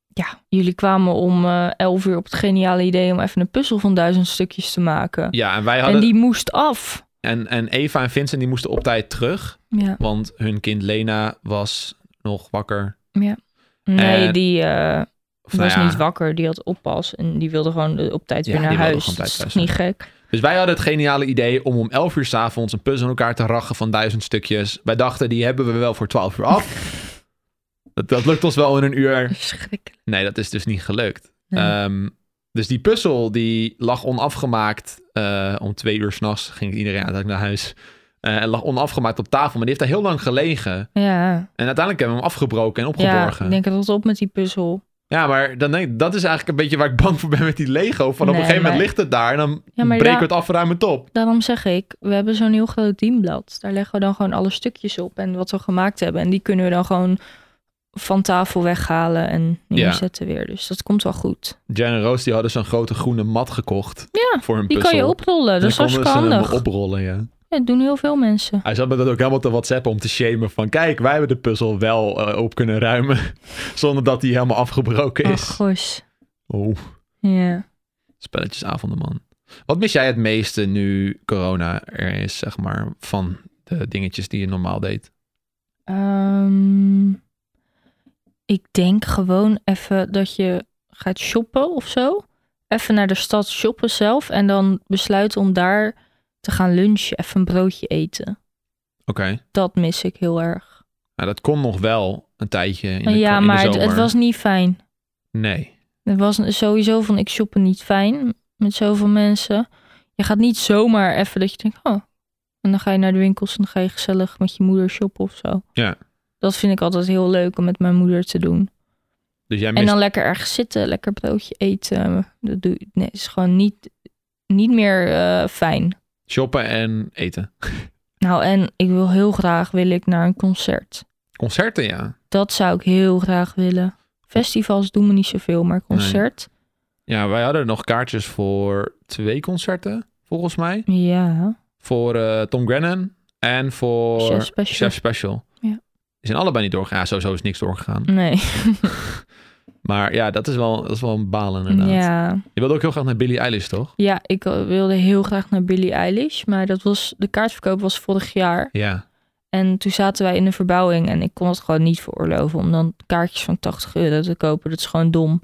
S2: Ja, jullie kwamen om eh 11 uur op het geniale idee om even een puzzel van duizend stukjes te maken.
S1: Ja, en wij hadden...
S2: en die moest af.
S1: En, en Eva en Vincent die moesten op tijd terug,
S2: Ja.
S1: want hun kind Lena was nog wakker.
S2: Nee,
S1: En-
S2: die eh,
S1: Of, nou
S2: was
S1: ja,
S2: niet wakker. Die had oppas. En die wilde gewoon eh, op tijd
S1: Ja,
S2: weer naar
S1: die wilde
S2: huis.
S1: gewoon op
S2: Dat
S1: tijd
S2: is toch
S1: thuis
S2: niet gek?
S1: Dus wij hadden het geniale idee om om 11 uur s'avonds een puzzel in elkaar te rachen van duizend stukjes. Wij dachten, die hebben we wel voor 12 uur af. dat, dat lukt ons wel in een uur.
S2: Verschrikkelijk.
S1: Nee, dat is dus niet gelukt.
S2: Nee.
S1: Ehm, dus die puzzel die lag onafgemaakt. eh, om twee uur s'nachts ging iedereen uiteindelijk naar huis. Eh, en lag onafgemaakt op tafel, maar die heeft daar heel lang gelegen.
S2: ja.
S1: En uiteindelijk hebben we hem afgebroken en
S2: Ja,
S1: opgeborgen.
S2: ik denk dat op met die puzzel.
S1: Ja, maar dan denk ik, dat is eigenlijk een beetje waar ik bang voor ben met die Lego. Van op
S2: Nee,
S1: een gegeven moment
S2: maar-
S1: ligt het daar en dan
S2: Ja, maar
S1: breken
S2: daar-
S1: we het af en ruimen het op.
S2: Daarom zeg ik, we hebben zo'n heel groot dienblad. Daar leggen we dan gewoon alle stukjes op en wat we gemaakt hebben. En die kunnen we dan gewoon van tafel weghalen en neerzetten weer. Dus dat komt wel goed.
S1: Jan en Roos die hadden zo'n grote groene mat gekocht
S2: Ja,
S1: voor een
S2: die
S1: puzzel.
S2: kan je oprollen.
S1: En
S2: Dat is
S1: dan konden
S2: hartstikke
S1: ze hem
S2: handig.
S1: oprollen, ja.
S2: Ja, dat doen heel veel mensen.
S1: Hij zat me dat ook helemaal te whatsappen om te shamen van... kijk, wij hebben de puzzel wel eh, op kunnen ruimen... zonder dat die helemaal afgebroken
S2: Oh,
S1: is.
S2: gosh.
S1: Oeh,
S2: Ja.
S1: spelletjesavonden, man. Wat mis jij het meeste nu corona er is, zeg maar... van de dingetjes die je normaal deed?
S2: Ehm, ik denk gewoon even dat je gaat shoppen of zo. Even naar de stad shoppen zelf. En dan besluiten om daar te gaan lunchen. Even een broodje eten.
S1: Oké,
S2: Dat mis ik heel erg.
S1: nou, dat kon nog wel een tijdje in de,
S2: ja,
S1: in de
S2: maar het,
S1: zomer.
S2: het was niet fijn.
S1: Nee.
S2: Het was sowieso van ik shoppen niet fijn met zoveel mensen. Je gaat niet zomaar even dat je denkt, oh. En dan ga je naar de winkels en dan ga je gezellig met je moeder shoppen of zo.
S1: Ja.
S2: Dat vind ik altijd heel leuk om met mijn moeder te doen.
S1: Dus jij
S2: En
S1: mist...
S2: dan lekker ergens zitten, lekker broodje eten. Dat doe, nee, is gewoon niet, niet meer eh, fijn.
S1: Shoppen en eten.
S2: Nou, en ik wil heel graag wil ik naar een concert.
S1: Concerten, ja.
S2: Dat zou ik heel graag willen. Festivals doen me niet zoveel, maar concert.
S1: Ja, wij hadden nog kaartjes voor twee concerten, volgens mij.
S2: Ja,
S1: Voor eh, Tom Grennan en voor
S2: Chef Special.
S1: Chef Special.
S2: Ja. Hm.
S1: Die zijn allebei niet doorgegaan. Ja, sowieso is niks doorgegaan.
S2: nee.
S1: Maar ja, dat is wel, dat is wel een balen inderdaad.
S2: Ja.
S1: Je wilde ook heel graag naar Billie Eilish, toch?
S2: ja, ik eh, wilde heel graag naar Billie Eilish. Maar dat was, de kaartverkoop was vorig jaar.
S1: Ja.
S2: En toen zaten wij in de verbouwing. En ik kon het gewoon niet veroorloven om dan kaartjes van 80 euro te kopen. Dat is gewoon dom.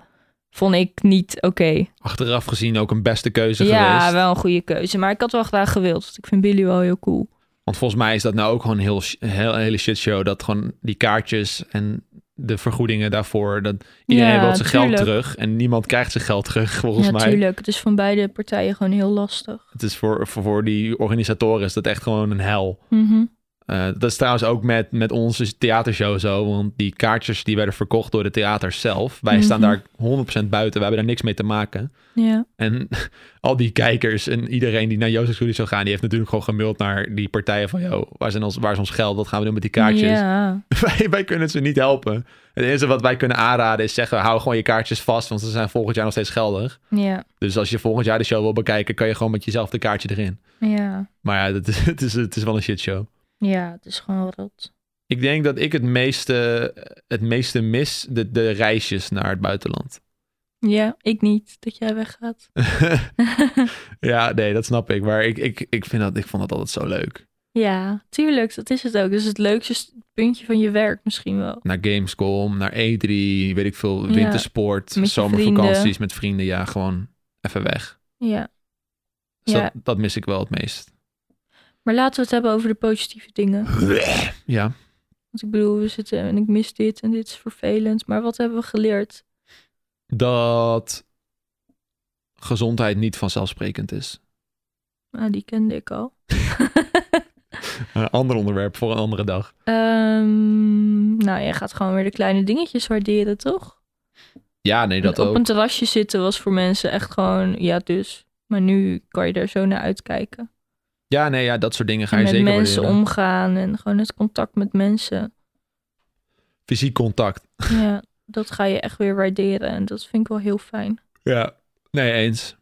S2: Vond ik niet oké.
S1: Achteraf gezien ook een beste keuze
S2: ja,
S1: geweest.
S2: wel een goede keuze. Maar ik had wel graag gewild. Want ik vind Billy wel heel cool.
S1: Want volgens mij is dat nou ook gewoon een heel, sh- een heel, een hele shitshow. Dat gewoon die kaartjes en de vergoedingen daarvoor. Dat iedereen
S2: Ja,
S1: wil zijn geld
S2: tuurlijk.
S1: terug. En niemand krijgt zijn geld terug, volgens mij.
S2: Natuurlijk. Het is van beide partijen gewoon heel lastig.
S1: Het is voor, voor, voor die organisatoren is dat echt gewoon een hel.
S2: Mhm.
S1: Eh, dat is trouwens ook met, met onze theatershow zo. Want die kaartjes die werden verkocht door de theaters zelf. Wij staan
S2: Mhm.
S1: daar 100% buiten. We hebben daar niks mee te maken.
S2: Ja.
S1: En al die kijkers en iedereen die naar Jozef Studio zou gaan... die heeft natuurlijk gewoon gemuld naar die partijen van... Yo, waar, zijn ons, waar is ons geld? Wat gaan we doen met die kaartjes?
S2: Ja.
S1: Wij, wij kunnen ze niet helpen. Het enige wat wij kunnen aanraden is zeggen... hou gewoon je kaartjes vast, want ze zijn volgend jaar nog steeds geldig.
S2: Ja.
S1: Dus als je volgend jaar de show wil bekijken... kan je gewoon met jezelf de kaartje erin.
S2: Ja.
S1: Maar ja, dat is, het, is, het is wel een shitshow.
S2: Ja, het is gewoon rot.
S1: Ik denk dat ik het meeste, het meeste mis de, de reisjes naar het buitenland.
S2: Ja, ik niet. Dat jij weggaat.
S1: ja, nee, dat snap ik. Maar ik, ik, ik, vind dat, ik vond dat altijd zo leuk.
S2: ja, tuurlijk. Dat is het ook. Dat is het leukste s- puntje van je werk misschien wel.
S1: Naar Gamescom, naar E3, weet ik veel,
S2: Ja.
S1: wintersport,
S2: Met je
S1: zomervakanties
S2: vrienden.
S1: met vrienden. Ja, gewoon even weg.
S2: Ja.
S1: Dus
S2: Ja.
S1: dat, dat mis ik wel het meest.
S2: Maar laten we het hebben over de positieve dingen.
S1: Ja,
S2: Want ik bedoel, we zitten en ik mis dit en dit is vervelend. Maar wat hebben we geleerd?
S1: dat gezondheid niet vanzelfsprekend is.
S2: Nou, die kende ik al.
S1: Een ander onderwerp voor een andere dag.
S2: Ehm, nou, jij gaat gewoon weer de kleine dingetjes waarderen, toch?
S1: Ja, nee, dat
S2: Op
S1: ook.
S2: een terrasje zitten was voor mensen echt gewoon, ja dus. Maar nu kan je daar zo naar uitkijken.
S1: Ja, nee, ja, dat soort dingen ga
S2: En
S1: je
S2: met
S1: zeker
S2: mensen
S1: waarderen.
S2: omgaan en gewoon het contact met mensen.
S1: Fysiek contact.
S2: ja, dat ga je echt weer waarderen en dat vind ik wel heel fijn.
S1: Ja. Nee, eens.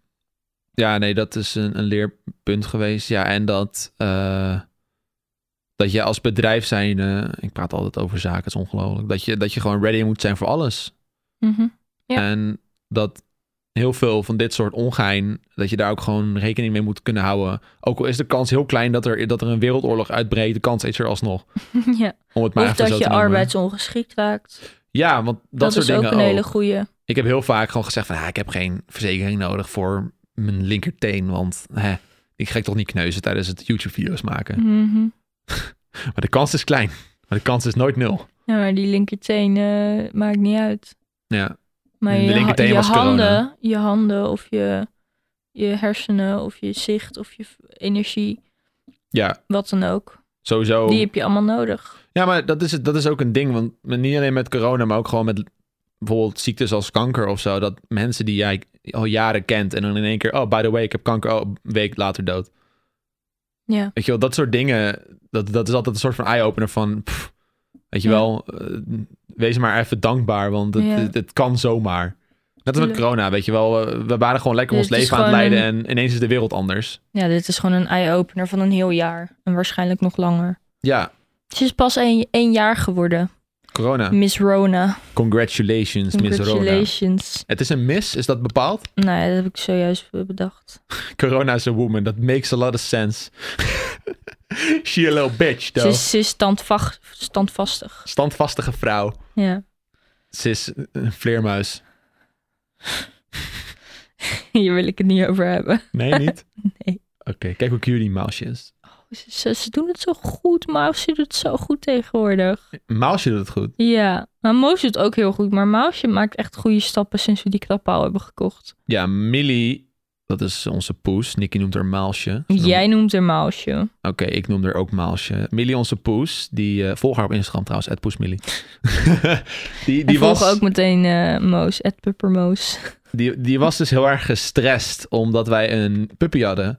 S1: Ja, nee, dat is een, een leerpunt geweest. Ja, en dat, eh, dat je als bedrijf zijn... eh, ik praat altijd over zaken, het is ongelooflijk. Dat je, dat je gewoon ready moet zijn voor alles.
S2: Mhm. Ja.
S1: En dat heel veel van dit soort ongein, dat je daar ook gewoon rekening mee moet kunnen houden. Ook al is de kans heel klein dat er, dat er een wereldoorlog uitbreekt, de kans is er alsnog.
S2: ja.
S1: Om het maar
S2: Of
S1: even zo
S2: dat
S1: te
S2: je
S1: noemen.
S2: arbeidsongeschikt raakt. Dat,
S1: Ja, want dat, soort
S2: is ook
S1: dingen
S2: een
S1: ook.
S2: hele goede.
S1: Ik heb heel vaak gewoon gezegd van, ah, ik heb geen verzekering nodig voor mijn linkerteen, want hè, ik ga toch niet kneuzen tijdens het YouTube-video's
S2: Mm.
S1: maken.
S2: Mhm.
S1: Maar de kans is klein. Maar de kans is nooit nul.
S2: Ja, maar die linkerteen eh, maakt niet uit.
S1: Ja,
S2: Maar
S1: De
S2: je,
S1: linkerteen
S2: ha- je
S1: was corona.
S2: handen, je handen of je, je hersenen of je zicht of je v- energie,
S1: ja
S2: wat dan ook.
S1: sowieso.
S2: Die heb je allemaal nodig.
S1: Ja, maar dat is, het- dat is ook een ding. Want niet alleen met corona, maar ook gewoon met bijvoorbeeld ziektes als kanker of zo. Dat mensen die jij al jaren kent en dan in één keer... Oh, by the way, ik heb kanker. Oh, een week later dood.
S2: Ja.
S1: Weet je wel, dat soort dingen. Dat, dat is altijd een soort van eye-opener van... pff, weet je
S2: Ja.
S1: wel, eh, wees maar even dankbaar. Want het,
S2: Ja.
S1: het, het kan zomaar. Net als met
S2: Tuurlijk.
S1: corona, weet je wel. eh, We waren gewoon lekker ons
S2: Dit is
S1: leven aan het
S2: gewoon
S1: leiden... en ineens is de wereld anders.
S2: ja, dit is gewoon een eye-opener van een heel jaar. En waarschijnlijk nog langer.
S1: Ja,
S2: Het is pas één, één jaar geworden.
S1: corona.
S2: Miss Rona.
S1: Congratulations, Miss Rona.
S2: Mm. Congratulations.
S1: Het is een mis, is dat bepaald?
S2: Nou ja, dat heb ik zojuist bedacht.
S1: Corona is a woman. That makes a lot of sense. She a little bitch,
S2: Ze
S1: though.
S2: is, ze is standvach- standvastig.
S1: Standvastige vrouw.
S2: Ja.
S1: Ze is een vleermuis.
S2: Hier wil ik het niet over hebben.
S1: Nee, niet?
S2: Nee.
S1: Oké, kijk hoe cute die Mausje is.
S2: Oh, Ze- Ze, ze doen het zo goed. Mausje doet het zo goed tegenwoordig.
S1: Mausje doet het goed.
S2: Ja, maar Moos doet het ook heel goed. Maar Mausje maakt echt goede stappen sinds we die krapaal hebben gekocht.
S1: Ja, Millie, dat is onze poes. Nicky noemt haar Mausje. Ze noemt-
S2: Jij noemt haar Mausje.
S1: Oké, ik noem haar ook Mausje. Millie, onze poes, die... eh, volg haar op Instagram trouwens, at poesmillie. die,
S2: Die
S1: die,
S2: volgen
S1: was,
S2: ook meteen eh Moos, Ed Pupper Moos.
S1: die, die was dus heel erg gestrest omdat wij een puppy hadden.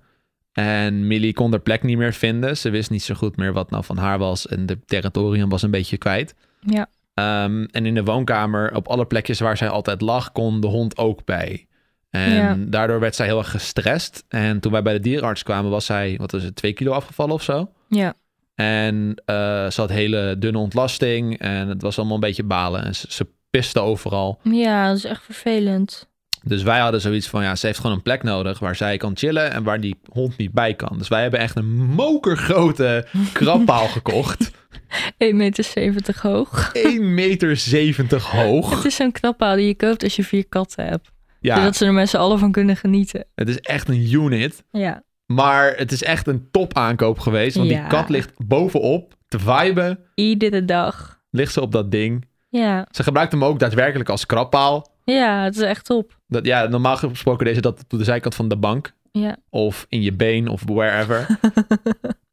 S1: En Millie kon haar plek niet meer vinden. Ze wist niet zo goed meer wat nou van haar was. En de territorium was een beetje kwijt.
S2: Ja.
S1: Ehm, en in de woonkamer, op alle plekjes waar zij altijd lag, kon de hond ook bij. En
S2: Ja.
S1: daardoor werd zij heel erg gestrest. En toen wij bij de dierenarts kwamen, was zij, wat is het, twee kilo afgevallen of zo.
S2: Ja.
S1: En eh, ze had hele dunne ontlasting. En het was allemaal een beetje balen. En ze, ze piste overal.
S2: Ja, dat is echt vervelend.
S1: Dus wij hadden zoiets van, ja, ze heeft gewoon een plek nodig waar zij kan chillen en waar die hond niet bij kan. Dus wij hebben echt een mokergrote krabpaal gekocht.
S2: 1,70 meter hoog.
S1: 1,70 meter hoog.
S2: Het is zo'n krabpaal die je koopt als je vier katten hebt.
S1: Ja,
S2: Zodat ze er met z'n allen van kunnen genieten.
S1: het is echt een unit.
S2: Ja.
S1: Maar het is echt een top aankoop geweest. Want die
S2: Ja.
S1: kat ligt bovenop te viben.
S2: Iedere dag.
S1: Ligt ze op dat ding.
S2: Ja.
S1: Ze gebruikt hem ook daadwerkelijk als krabpaal.
S2: Ja, het is echt top.
S1: Dat, ja, normaal gesproken deze dat op de zijkant van de bank.
S2: Ja.
S1: Of in je been of wherever.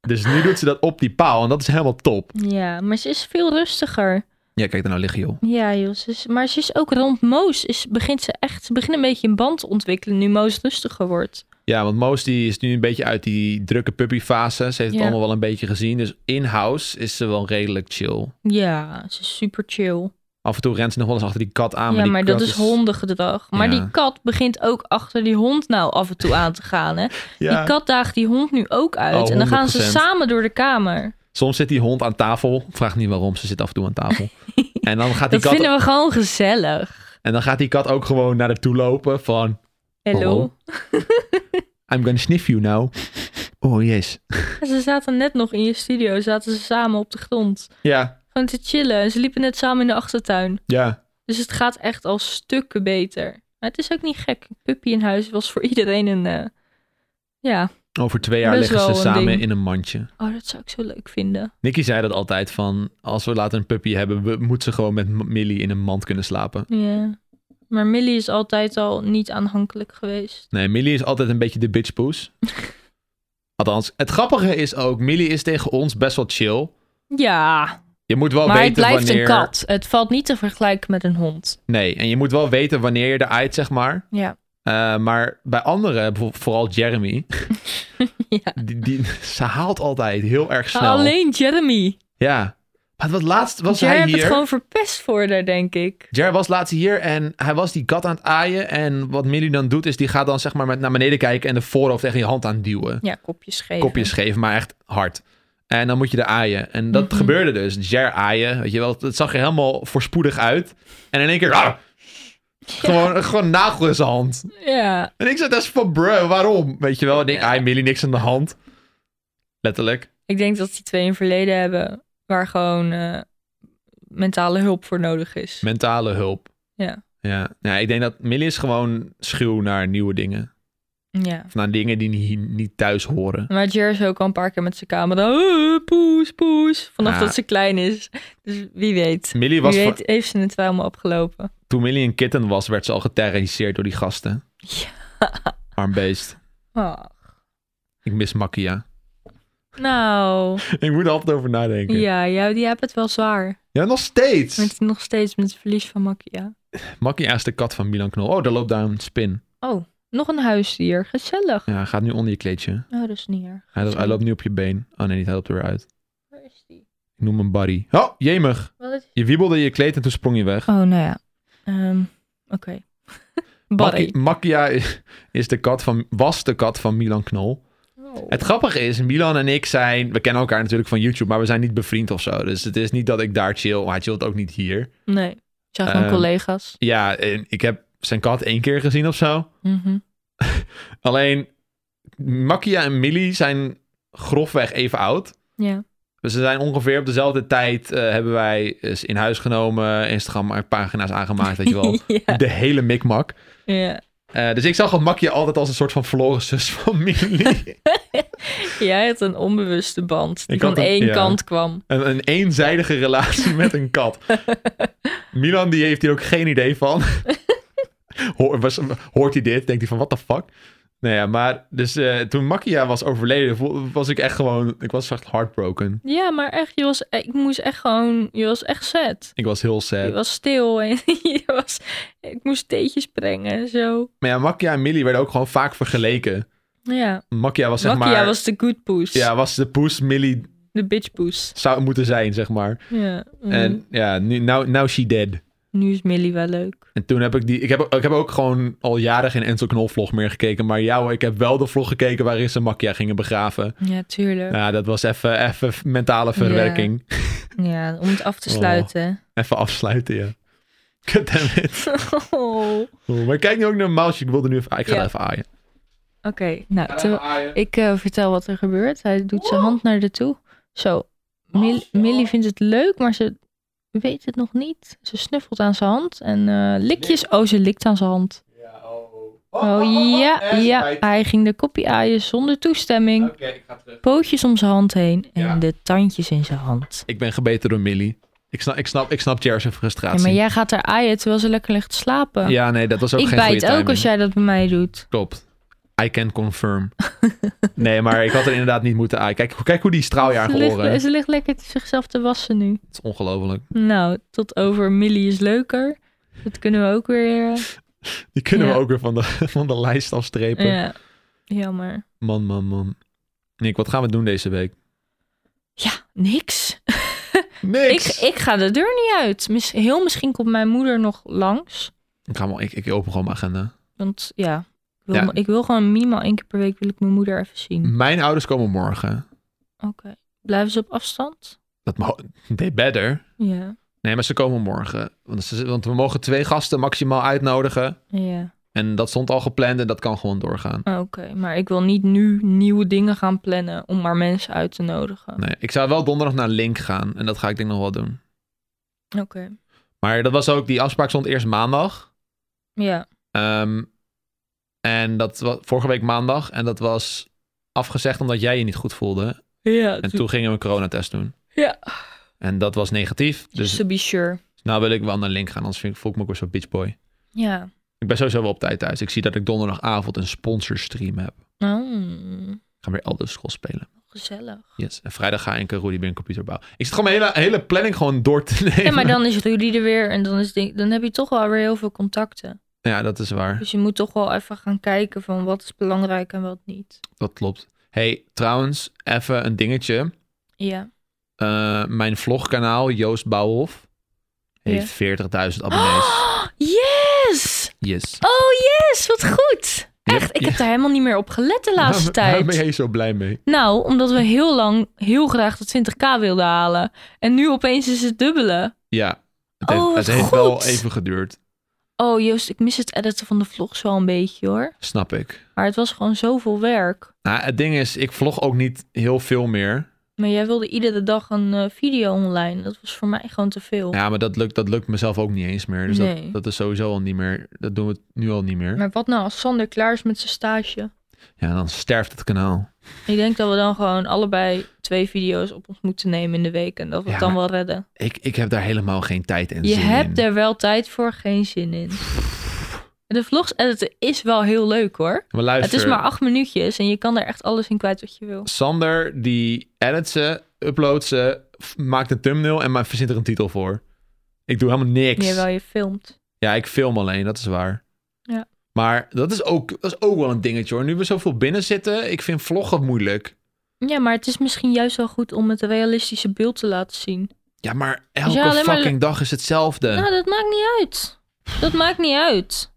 S1: dus nu doet ze dat op die paal. En dat is helemaal top.
S2: Ja, maar ze is veel rustiger.
S1: Ja, kijk daar nou liggen, joh.
S2: Ja, joh. Ze is- maar ze is ook rond Moos. Is, begint ze echt. Ze begint een beetje een band te ontwikkelen nu Moos rustiger wordt.
S1: Ja, want Moos die is nu een beetje uit die drukke puppyfase. Ze heeft
S2: Ja.
S1: het allemaal wel een beetje gezien. Dus in-house is ze wel redelijk chill.
S2: Ja, ze is super chill.
S1: Af en toe rent ze nog wel eens achter die kat aan.
S2: ja,
S1: Ah, die
S2: maar dat
S1: kat
S2: is hondengedrag. Maar
S1: Ja.
S2: die kat begint ook achter die hond nou af en toe aan te gaan. Hè?
S1: Ja.
S2: Die kat daagt die hond nu ook uit.
S1: Oh,
S2: en dan gaan ze
S1: 100%.
S2: samen door de kamer.
S1: Soms zit die hond aan tafel. Vraag niet waarom, ze zit af en toe aan tafel. en, dan gaat die
S2: Dat
S1: kat,
S2: vinden we gewoon gezellig.
S1: en dan gaat die kat ook gewoon naar haar toe lopen van... Oh.
S2: Hallo.
S1: I'm gonna sniff you now. Oh, yes.
S2: Ze zaten net nog in je studio. Zaten ze samen op de grond.
S1: Ja,
S2: Gewoon te chillen. En ze liepen net samen in de achtertuin.
S1: ja.
S2: Dus het gaat echt al stukken beter. Maar het is ook niet gek. Puppy in huis was voor iedereen een. eh, Ja.
S1: Over twee jaar
S2: Best
S1: liggen
S2: wel
S1: ze
S2: een
S1: samen
S2: ding.
S1: in een mandje.
S2: Oh, dat zou ik zo leuk vinden.
S1: Nicky zei dat altijd van... Als we later een puppy hebben, we, moet ze gewoon met M- Millie in een mand kunnen slapen.
S2: Ja. Maar Millie is altijd al niet aanhankelijk geweest.
S1: Nee, Millie is altijd een beetje de bitchpoes. Althans, het grappige is ook, Millie is tegen ons best wel chill.
S2: Ja,
S1: Je moet wel
S2: maar het
S1: weten
S2: blijft
S1: wanneer...
S2: een kat. Het valt niet te vergelijken met een hond.
S1: Nee, en je moet wel weten wanneer je eruit, zeg maar.
S2: Ja.
S1: Eh, maar bij anderen, bijvoorbeeld vooral Jeremy,
S2: Ja.
S1: die, die, ze haalt altijd heel erg snel.
S2: Alleen Jeremy.
S1: Ja. Maar wat laatst was
S2: Jij
S1: hij
S2: hebt
S1: hier.
S2: het gewoon verpest voor daar, denk ik.
S1: Jer was laatst hier en hij was die kat aan het aaien. En wat Millie dan doet, is die gaat dan zeg maar met naar beneden kijken en de voorhoofd tegen je hand aan duwen.
S2: Ja, kopjes geven.
S1: Kopjes geven, maar echt hard. En dan moet je er aaien. En dat
S2: Mhm.
S1: gebeurde dus. Jer aaien, weet je wel. Het zag er helemaal voorspoedig uit. En in één keer... ah, gewoon, gewoon een nagel in zijn hand.
S2: Ja,
S1: En ik zat echt van, bruh, waarom? Weet je wel, en ik, ah, Millie, niks aan de hand. Letterlijk.
S2: ik denk dat die twee een verleden hebben waar gewoon eh, mentale hulp voor nodig is.
S1: Mentale hulp.
S2: Ja.
S1: Ja. ja, ik denk dat Millie is gewoon schuw naar nieuwe dingen.
S2: ja.
S1: Of naar dingen die niet, niet thuis horen.
S2: Maar Jer is ook al een paar keer met zijn camera. "Eh, poes, poes. Vanaf
S1: Ja.
S2: dat ze klein is. Dus wie weet.
S1: Millie
S2: Wie
S1: was
S2: weet
S1: van-
S2: heeft ze het wel helemaal opgelopen.
S1: toen Millie een kitten was, werd ze al geterroriseerd door die gasten.
S2: Ja.
S1: Arm beest.
S2: Ah.
S1: Ik mis Makia.
S2: Nou,
S1: Ik moet er altijd over nadenken.
S2: ja, jou, die hebt het wel zwaar.
S1: Ja, nog steeds.
S2: Met, nog steeds met het verlies van Makia.
S1: Makia is de kat van Milan Knol. Oh, daar loopt daar een spin.
S2: Oh, nog een huisdier. Gezellig.
S1: Ja, hij gaat nu onder je kleedje.
S2: Oh, dat is niet erg.
S1: Hij, hij
S2: Gezellig.
S1: loopt nu op je been. Oh nee, niet, hij loopt er weer uit.
S2: Waar is die?
S1: Ik noem hem Barry. Oh, jemig.
S2: Wat is...
S1: Je wiebelde je kleed en toen sprong je weg.
S2: Oh, nou ja. Ehm, Oké. Barry.
S1: Maki- Makia is- is de kat van, was de kat van Milan Knol.
S2: Oh.
S1: Het grappige is, Milan en ik zijn... We kennen elkaar natuurlijk van YouTube, maar we zijn niet bevriend of zo. Dus het is niet dat ik daar chill. Hij chillt ook niet hier.
S2: Nee, ik zag gewoon
S1: Ehm,
S2: collega's.
S1: Ja, en ik heb zijn kat één keer gezien of zo.
S2: Mhm.
S1: Alleen, Makia en Millie zijn grofweg even oud.
S2: Ja.
S1: Dus ze zijn ongeveer op dezelfde tijd... eh, hebben wij eens in huis genomen, Instagram-pagina's aangemaakt, weet je wel.
S2: ja.
S1: De hele mikmak.
S2: ja.
S1: Eh, dus ik zag gewoon Makkie altijd als een soort van verloren zus van Millie.
S2: Jij had een onbewuste band die
S1: Ik
S2: van
S1: had een-
S2: één
S1: ja.
S2: kant kwam.
S1: een, een eenzijdige relatie met een kat. Milan die heeft hier ook geen idee van. Hoor- was- hoort hij dit? Denkt hij van, what the fuck? Nou ja, maar dus eh, toen Makkia was overleden, vo- was ik echt gewoon... Ik was echt heartbroken.
S2: Ja, maar echt, je was, eh, ik moest echt gewoon, je was echt zet.
S1: Ik was heel
S2: Je
S1: sad.
S2: was stil en je was, ik moest theetjes brengen en zo.
S1: Maar ja, Makkia en Millie werden ook gewoon vaak vergeleken.
S2: Ja,
S1: Makkia was zeg
S2: Makia
S1: maar...
S2: was de good poes,
S1: Ja, was de poes Millie
S2: de bitch poes.
S1: zou moeten zijn, zeg maar.
S2: Ja. mm.
S1: En ja, nu, now, now she dead.
S2: Nu is Millie wel leuk.
S1: En toen heb ik die... Ik heb, ik heb ook gewoon al jaren geen Enzo Knol vlog meer gekeken. Maar jou, ik heb wel de vlog gekeken waarin ze Makia gingen begraven.
S2: Ja, tuurlijk. Ja,
S1: Ja, dat was even, even mentale verwerking.
S2: om het af te
S1: Oh.
S2: sluiten.
S1: Even afsluiten, ja. God damn it.
S2: Oh. Oké,
S1: Oeh, Maar kijk nu ook naar Mouse. Ik wilde nu even... Ik ga
S2: Ja.
S1: er even aaien.
S2: nou, terwijl- Ik eh, vertel wat er gebeurt. Hij doet zijn hand naar de toe. Zo. Mil- Millie vindt het leuk, maar ze weet het nog niet. Ze snuffelt aan zijn hand en eh, likjes. Oh, ze likt aan zijn hand. Oh ja, ja. Hij ging de kopje aaien zonder toestemming.
S1: ik ga terug.
S2: Pootjes om zijn hand heen en
S1: Ja.
S2: de tandjes in zijn hand.
S1: Ik ben gebeten door Millie. Ik snap, ik snap, ik snap Jer's
S2: Ja,
S1: frustratie.
S2: maar
S1: Ja,
S2: jij gaat haar aaien terwijl ze lekker ligt te slapen.
S1: nee, dat was ook
S2: ik
S1: geen
S2: bijt
S1: goede timing.
S2: ook als jij dat bij mij doet.
S1: Klopt. I can confirm. nee, maar ik had er inderdaad niet moeten aaien. Kijk, kijk hoe die straaljaar
S2: Ze ligt,
S1: horen.
S2: ze ligt lekker zichzelf te wassen nu.
S1: Het is ongelooflijk.
S2: Nou, tot over Millie is leuker. Dat kunnen we ook weer... eh,
S1: Die kunnen
S2: Ja.
S1: we ook weer van de, van de lijst afstrepen.
S2: Ja, jammer.
S1: Man, man, man. Nick, wat gaan we doen deze week?
S2: Ja, niks. Ik,
S1: Niks! Ik,
S2: ik ga de deur niet uit. Mis- heel misschien komt mijn moeder nog langs.
S1: ga maar, ik, ik open gewoon mijn agenda.
S2: Want ja, ik wil,
S1: Ja. Mm.
S2: ik wil gewoon minimaal één keer per week wil ik mijn moeder even zien.
S1: Mijn ouders komen morgen.
S2: Oké. Blijven ze op afstand?
S1: Dat mo- they better.
S2: Ja.
S1: Nee, maar ze komen morgen. Want, ze- want we mogen twee gasten maximaal uitnodigen.
S2: Ja. Ah,
S1: En dat stond al gepland en dat kan gewoon doorgaan.
S2: Oké, maar ik wil niet nu nieuwe dingen gaan plannen om maar mensen uit te nodigen.
S1: Nee, ik zou wel donderdag naar Link gaan. En dat ga ik denk ik nog wel doen.
S2: Oké.
S1: Maar dat was ook, die afspraak stond eerst maandag.
S2: Ja.
S1: Ehm, en dat was vorige week maandag. En dat was afgezegd omdat jij je niet goed voelde.
S2: Ja.
S1: En toen gingen we een coronatest doen.
S2: Ja.
S1: En dat was negatief.
S2: Dus
S1: Dus
S2: to be sure.
S1: nou wil ik wel naar Link gaan, anders vind ik, voel ik me ook weer zo'n bitchboy.
S2: Ja.
S1: Ik ben sowieso wel op tijd thuis. Ik zie dat ik donderdagavond een sponsorstream heb.
S2: Oh.
S1: ga weer Elder Scrolls spelen.
S2: Gezellig.
S1: Yes. En vrijdag ga ik een Rudy weer een computer bouwen. Ik zit gewoon mijn hele, hele planning gewoon door te nemen.
S2: Ja, maar dan is Rudy er weer en dan, is ding- dan heb je toch wel weer heel veel contacten.
S1: Ja, dat is waar.
S2: Dus je moet toch wel even gaan kijken van wat is belangrijk en wat niet.
S1: Dat klopt. hey, trouwens, even een dingetje.
S2: Ja.
S1: Eh, mijn vlogkanaal, Joost Bouwhof, heeft 40.000 abonnees.
S2: Oh, yes!
S1: Yes.
S2: Oh, yes! Wat goed!
S1: Je
S2: Echt,
S1: hebt-
S2: ik
S1: je-
S2: heb daar helemaal niet meer op gelet de laatste
S1: Waarom- Waar
S2: tijd.
S1: ben je zo blij mee?
S2: Nou, omdat we heel lang heel graag de 20k wilden halen. En nu opeens is het dubbele.
S1: Ja, het
S2: Oh,
S1: heeft,
S2: wat
S1: het heeft
S2: goed.
S1: wel even geduurd.
S2: Oh, Joost, ik mis het editen van de vlogs wel een beetje hoor.
S1: Snap ik.
S2: Maar het was gewoon zoveel werk.
S1: Nou, het ding is, ik vlog ook niet heel veel meer.
S2: Maar jij wilde iedere dag een eh, video online. Dat was voor mij gewoon te veel.
S1: Ja, maar dat lukt, dat lukt mezelf ook niet eens meer. Dus
S2: Nee.
S1: dat, dat is sowieso al niet meer. Dat doen we nu al niet meer.
S2: Maar wat nou als Sander klaar is met zijn stage?
S1: Ja, dan sterft het kanaal.
S2: Ik denk dat we dan gewoon allebei twee video's op ons moeten nemen in de week. En dat we het
S1: Ja,
S2: dan wel redden.
S1: Ik, ik heb daar helemaal geen tijd en
S2: Je
S1: zin
S2: hebt
S1: in.
S2: er wel tijd voor, geen zin in. De vlogs editen is wel heel leuk hoor.
S1: Maar luister,
S2: Het is maar acht minuutjes en je kan er echt alles in kwijt wat je wil.
S1: Sander die edit ze, uploadt ze, f- maakt een thumbnail en maar verzint er een titel voor. Ik doe helemaal niks.
S2: Meer wel je filmt.
S1: Ja, ik film alleen, dat is waar.
S2: Ja.
S1: Maar dat is, ook, dat is ook wel een dingetje hoor. Nu we zoveel binnen zitten, ik vind vloggen moeilijk.
S2: Ja, maar het is misschien juist wel goed om het realistische beeld te laten zien.
S1: Ja, maar elke
S2: Ja, alleen maar-
S1: fucking dag is hetzelfde.
S2: Nou, dat maakt niet uit. Dat maakt niet uit.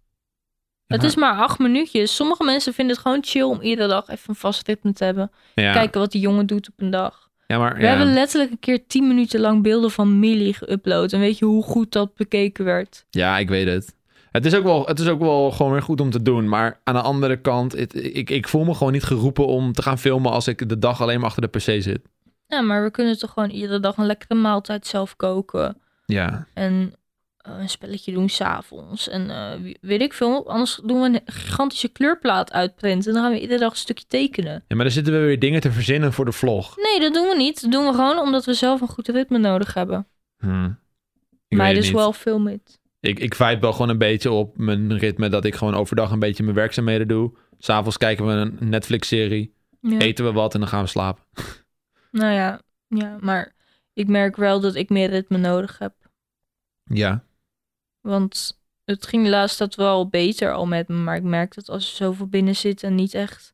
S2: Het is maar acht minuutjes. Sommige mensen vinden het gewoon chill om iedere dag even een vast ritme te hebben.
S1: ja.
S2: Kijken wat die jongen doet op een dag.
S1: ja, maar,
S2: We
S1: ja.
S2: hebben letterlijk een keer tien minuten lang beelden van Millie geüpload. En weet je hoe goed dat bekeken werd?
S1: ja, ik weet het. Het is, ook wel, het is ook wel gewoon weer goed om te doen. Maar aan de andere kant, het- ik, ik voel me gewoon niet geroepen om te gaan filmen als ik de dag alleen maar achter de pc zit.
S2: Ja, maar we kunnen toch gewoon iedere dag een lekkere maaltijd zelf koken.
S1: Ja,
S2: En eh, een spelletje doen s'avonds. En eh, wie- weet ik veel. Anders doen we een gigantische kleurplaat uitprinten. En dan gaan we iedere dag een stukje tekenen.
S1: ja maar dan zitten we weer dingen te verzinnen voor de vlog.
S2: Nee, dat doen we niet. Dat doen we gewoon omdat we zelf een goed ritme nodig hebben.
S1: Hm. Ik
S2: Maar
S1: weet het
S2: dus
S1: niet.
S2: wel film it.
S1: Ik, ik vibe wel gewoon een beetje op mijn ritme dat ik gewoon overdag een beetje mijn werkzaamheden doe. S'avonds kijken we een Netflix-serie,
S2: Ja.
S1: eten we wat en dan gaan we slapen.
S2: Nou ja, ja, maar ik merk wel dat ik meer ritme nodig heb.
S1: Ja.
S2: Want het ging laatst dat wel beter al met me. Maar ik merk dat als er zoveel binnen zit en niet echt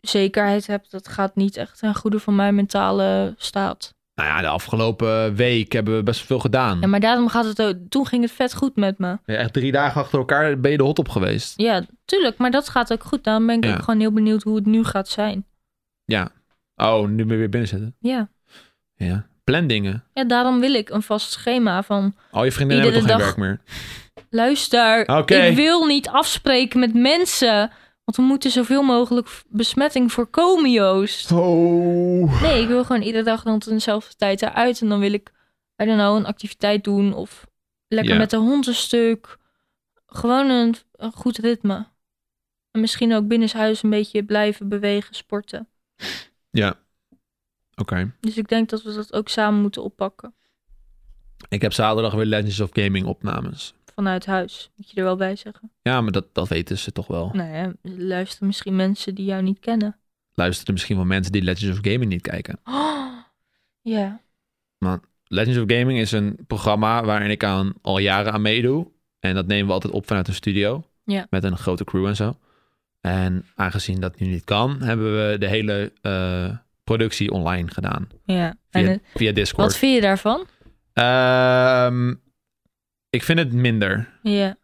S2: zekerheid heb, dat gaat niet echt ten goede van mijn mentale staat.
S1: Nou ja, de afgelopen week hebben we best veel gedaan.
S2: Ja, maar daarom gaat het ook. Toen ging het vet goed met me.
S1: Ja, echt drie dagen achter elkaar ben je de hot op geweest.
S2: Ja, tuurlijk, maar dat gaat ook goed. Dan ben ik
S1: Ja.
S2: ook gewoon heel benieuwd hoe het nu gaat zijn.
S1: Oh, nu ben je weer binnen zitten.
S2: Ja.
S1: Ja. Plan dingen.
S2: Ja, daarom wil ik een vast schema van.
S1: Al je vriendinnen hebben toch
S2: Iedere
S1: geen werk meer?
S2: Luister,
S1: Oké.
S2: ik wil niet afspreken met mensen. Want we moeten zoveel mogelijk v- besmetting voorkomen, Joost.
S1: Oh.
S2: Nee, ik wil gewoon iedere dag rond dezelfde tijd eruit. En dan wil ik, I don't know, een activiteit doen. Of lekker
S1: Ja.
S2: met de hond een stuk. Gewoon een, een goed ritme. En misschien ook binnenshuis een beetje blijven bewegen, sporten.
S1: Ja. Oké.
S2: Dus ik denk dat we dat ook samen moeten oppakken.
S1: Ik heb zaterdag weer Legends of Gaming opnames.
S2: Vanuit huis, moet je er wel bij zeggen.
S1: Ja, maar dat, dat weten ze toch wel.
S2: Nou ja, luisteren misschien mensen die jou niet kennen.
S1: Luisteren misschien wel mensen die Legends of Gaming niet kijken.
S2: Oh, ja.
S1: Legends of Gaming is een programma waarin ik aan, al jaren aan meedoe. En dat nemen we altijd op vanuit een studio.
S2: Ja.
S1: Met een grote crew en zo. En aangezien dat nu niet kan, hebben we de hele eh, productie online gedaan.
S2: ja. En
S1: Via,
S2: het-
S1: via Discord.
S2: wat vind je daarvan?
S1: Ehm, ik vind het minder.
S2: Ja.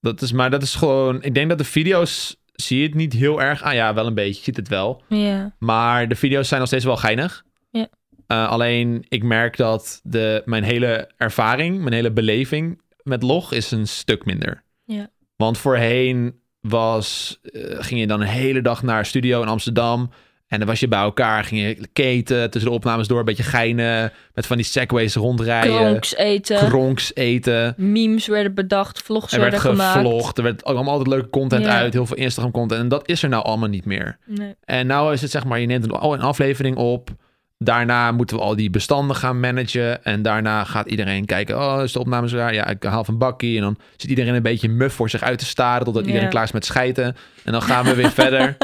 S1: Dat is, maar dat is gewoon... Ik denk dat de video's... Zie je het niet heel erg? Ah ja, wel een beetje. Je ziet het wel.
S2: ja.
S1: Maar de video's zijn nog steeds wel geinig.
S2: Ja.
S1: Eh, alleen ik merk dat de, mijn hele ervaring, mijn hele beleving met log is een stuk minder.
S2: Ja.
S1: Want voorheen was, eh, ging je dan een hele dag naar een studio in Amsterdam. En dan was je bij elkaar, ging je keten tussen de opnames door, een beetje geinen. Met van die segways rondrijden.
S2: Kronks eten,
S1: Kronks eten.
S2: memes werden bedacht, vlogs
S1: Er werd
S2: werden gemaakt.
S1: gevlogd. Er werd allemaal altijd leuke content
S2: Ja.
S1: uit. Heel veel Instagram content. En dat is er nou allemaal niet meer.
S2: Nee.
S1: En nou is het zeg maar, je neemt een, al een aflevering op. Daarna moeten we al die bestanden gaan managen. En daarna gaat iedereen kijken, oh, is de opname zo raar? Ja, ik haal van bakkie. En dan zit iedereen een beetje muf voor zich uit te staren... totdat
S2: Ja.
S1: iedereen klaar is met schijten. En dan gaan we weer verder.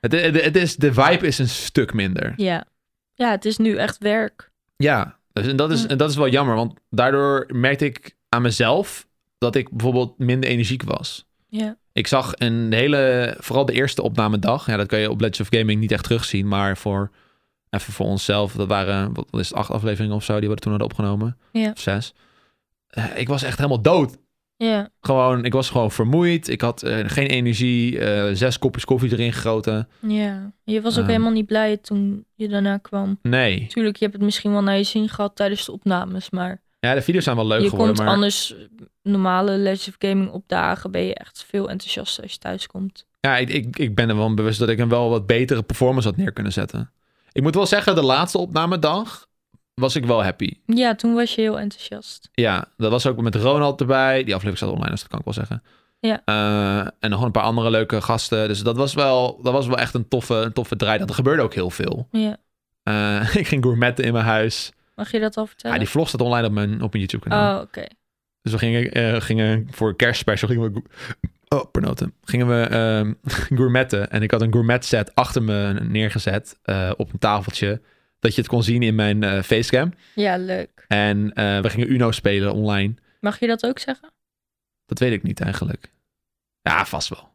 S1: Het, het, het is, de vibe is een stuk minder.
S2: Ja. ja, het is nu echt werk.
S1: Ja, dus, en, dat is, en dat is wel jammer, want daardoor merkte ik aan mezelf dat ik bijvoorbeeld minder energiek was.
S2: Ja.
S1: Ik zag een hele, vooral de eerste opnamedag, ja, dat kan je op Legends of Gaming niet echt terugzien, maar voor, even voor onszelf, dat waren, wat wat is het, acht afleveringen of zo, die we toen hadden opgenomen,
S2: Ja.
S1: of zes. Eh, ik was echt helemaal dood.
S2: Ja.
S1: Gewoon, ik was gewoon vermoeid, ik had eh, geen energie, eh, zes kopjes koffie erin gegoten.
S2: ja. Je was ook
S1: Ehm.
S2: helemaal niet blij toen je daarna kwam.
S1: Nee.
S2: Tuurlijk, je hebt het misschien wel naar je zin gehad tijdens de opnames, maar
S1: Ja, de video's zijn wel leuk
S2: je
S1: geworden,
S2: komt
S1: maar...
S2: anders normale Legends of Gaming opdagen, ben je echt veel enthousiaster als je thuis komt.
S1: Ja, ik, ik, ik ben er wel bewust dat ik een wel wat betere performance had neer kunnen zetten. Ik moet wel zeggen, de laatste opnamedag was ik wel happy.
S2: Ja, toen was je heel enthousiast.
S1: Ja, dat was ook met Ronald erbij. Die aflevering staat online, dus dat kan ik wel zeggen.
S2: Ja.
S1: Eh, en nog een paar andere leuke gasten. Dus dat was wel, dat was wel echt een toffe, een toffe draai. Dat er gebeurde ook heel veel.
S2: Ja.
S1: Eh, ik ging gourmetten in mijn huis.
S2: Mag je dat al
S1: Ja,
S2: vertellen?
S1: die vlog staat online op mijn, op mijn YouTube-kanaal.
S2: Oh, oké.
S1: Dus we gingen, eh, gingen voor een kerstspecial gingen we. go- Oh, pernoten. Gingen we ehm gourmetten. En ik had een gourmet set achter me neergezet eh, op een tafeltje. Dat je het kon zien in mijn eh, facecam.
S2: Ja, leuk.
S1: En eh, we gingen Uno spelen online.
S2: Mag je dat ook zeggen?
S1: Dat weet ik niet eigenlijk. Ja, vast wel.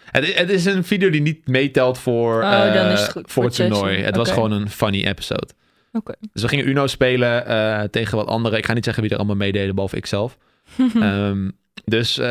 S1: Het, i- het is een video die niet meetelt voor,
S2: Oh, dan
S1: eh,
S2: is het goed.
S1: voor het
S2: Goed, Jason.
S1: toernooi. Het was
S2: Oké.
S1: gewoon een funny episode.
S2: Oké.
S1: Dus we gingen Uno spelen eh, tegen wat anderen. Ik ga niet zeggen wie er allemaal meededen, behalve ikzelf.
S2: Hm.
S1: Ehm, dus eh,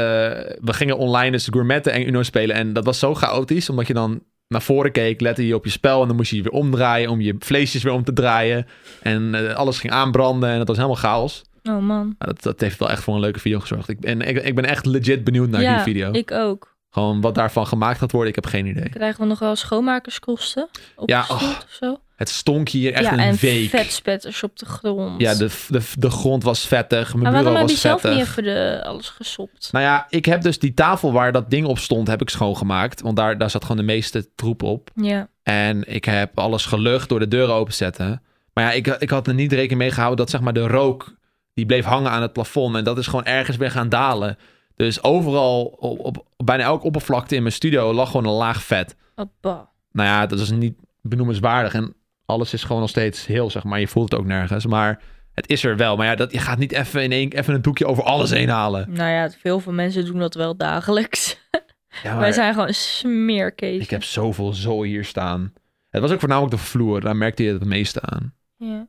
S1: we gingen online dus gourmetten en Uno spelen. En dat was zo chaotisch, omdat je dan naar voren keek, lette je op je spel. En dan moest je je weer omdraaien om je vleesjes weer om te draaien. En eh, alles ging aanbranden en dat was helemaal chaos.
S2: oh man.
S1: Maar Nou, dat, dat heeft wel echt voor een leuke video gezorgd. Ik, en ik, ik ben echt legit benieuwd naar
S2: ja,
S1: die video.
S2: ik ook.
S1: Gewoon wat daarvan gemaakt gaat worden, ik heb geen idee.
S2: Krijgen we nog wel schoonmakerskosten? Op
S1: Ja,
S2: ja,
S1: oh,
S2: of zo?
S1: Het stonk hier echt
S2: ja,
S1: een
S2: en
S1: week.
S2: vetspetters op de grond.
S1: Ja, de, de, de grond was vettig, mijn
S2: maar waarom
S1: bureau
S2: heb je
S1: was
S2: zelf
S1: vettig.
S2: niet even de, alles gesopt?
S1: Nou ja, ik heb dus die tafel waar dat ding op stond, heb ik schoongemaakt. Want daar, daar zat gewoon de meeste troep op.
S2: Ja,
S1: En ik heb alles gelucht door de deuren openzetten. Maar ja, ik, ik had er niet rekening mee gehouden dat zeg maar de rook... die bleef hangen aan het plafond. En dat is gewoon ergens weer gaan dalen. Dus overal, op, op bijna elk oppervlakte in mijn studio... lag gewoon een laag vet.
S2: abba.
S1: Nou ja, dat is niet benoemenswaardig. En alles is gewoon nog steeds heel, zeg maar. Je voelt het ook nergens. Maar het is er wel. Maar ja, dat, je gaat niet even, in één, even een doekje over alles heen halen.
S2: Nou ja, veel van mensen doen dat wel dagelijks.
S1: Ja,
S2: Wij
S1: maar-
S2: zijn gewoon smeerkees.
S1: Ik heb zoveel zooi hier staan. Het was ook voornamelijk de vloer. Daar merkte je het meeste aan.
S2: Ja.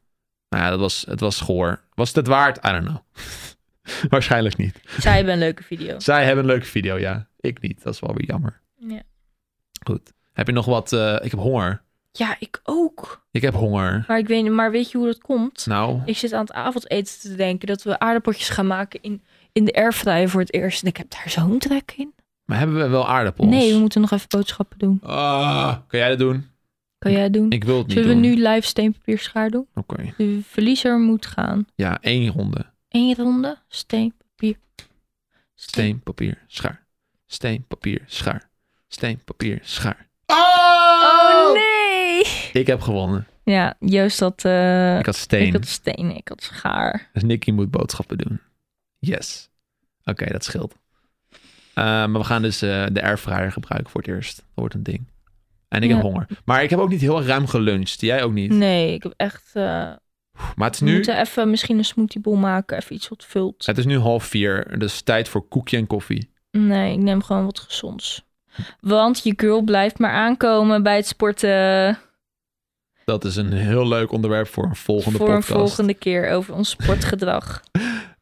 S1: Nou ja, dat was, het was goor. Was het het waard? I don't know. Waarschijnlijk niet.
S2: Zij hebben een leuke video.
S1: Zij hebben een leuke video, ja. Ik niet. Dat is wel weer jammer.
S2: Ja,
S1: Goed. Heb je nog wat? eh, ik heb honger.
S2: ja ik ook.
S1: Ik heb honger.
S2: Maar, ik weet, maar weet je hoe dat komt?
S1: Nou,
S2: Ik zit aan het avondeten te denken dat we aardappeltjes gaan maken in, in de airfryer voor het eerst. En ik heb daar zo'n trek in.
S1: maar hebben we wel aardappels?
S2: Nee, we moeten nog even boodschappen doen.
S1: Ah, kan jij dat doen?
S2: Kan jij het doen?
S1: Ik wil het niet
S2: Zullen we
S1: doen.
S2: nu live steenpapier schaar doen?
S1: Oké.
S2: De verliezer moet gaan.
S1: Ja, één ronde.
S2: Eén ronde, steenpapier.
S1: Steen, papier, schaar. Steen, papier, schaar. Steen, papier, schaar. Oh!
S2: Oh nee!
S1: Ik heb gewonnen.
S2: Ja, Joost had, eh,
S1: Ik had steen.
S2: ik had steen, ik had schaar.
S1: Dus Nicky moet boodschappen doen. Yes. Oké, dat scheelt. Eh, maar we gaan dus eh, de airfryer gebruiken voor het eerst. Dat wordt een ding. En ik
S2: Ja.
S1: heb honger. Maar ik heb ook niet heel erg ruim geluncht. Jij ook niet.
S2: Nee, ik heb echt... eh,
S1: Maar het is,
S2: we
S1: nu,
S2: moeten even misschien een smoothiebol maken, even iets wat vult.
S1: het is nu half vier. Dus tijd voor koekje en koffie.
S2: Nee, ik neem gewoon wat gezonds. Want je girl blijft maar aankomen bij het sporten.
S1: Dat is een heel leuk onderwerp voor een volgende
S2: voor
S1: podcast.
S2: een volgende keer over ons sportgedrag.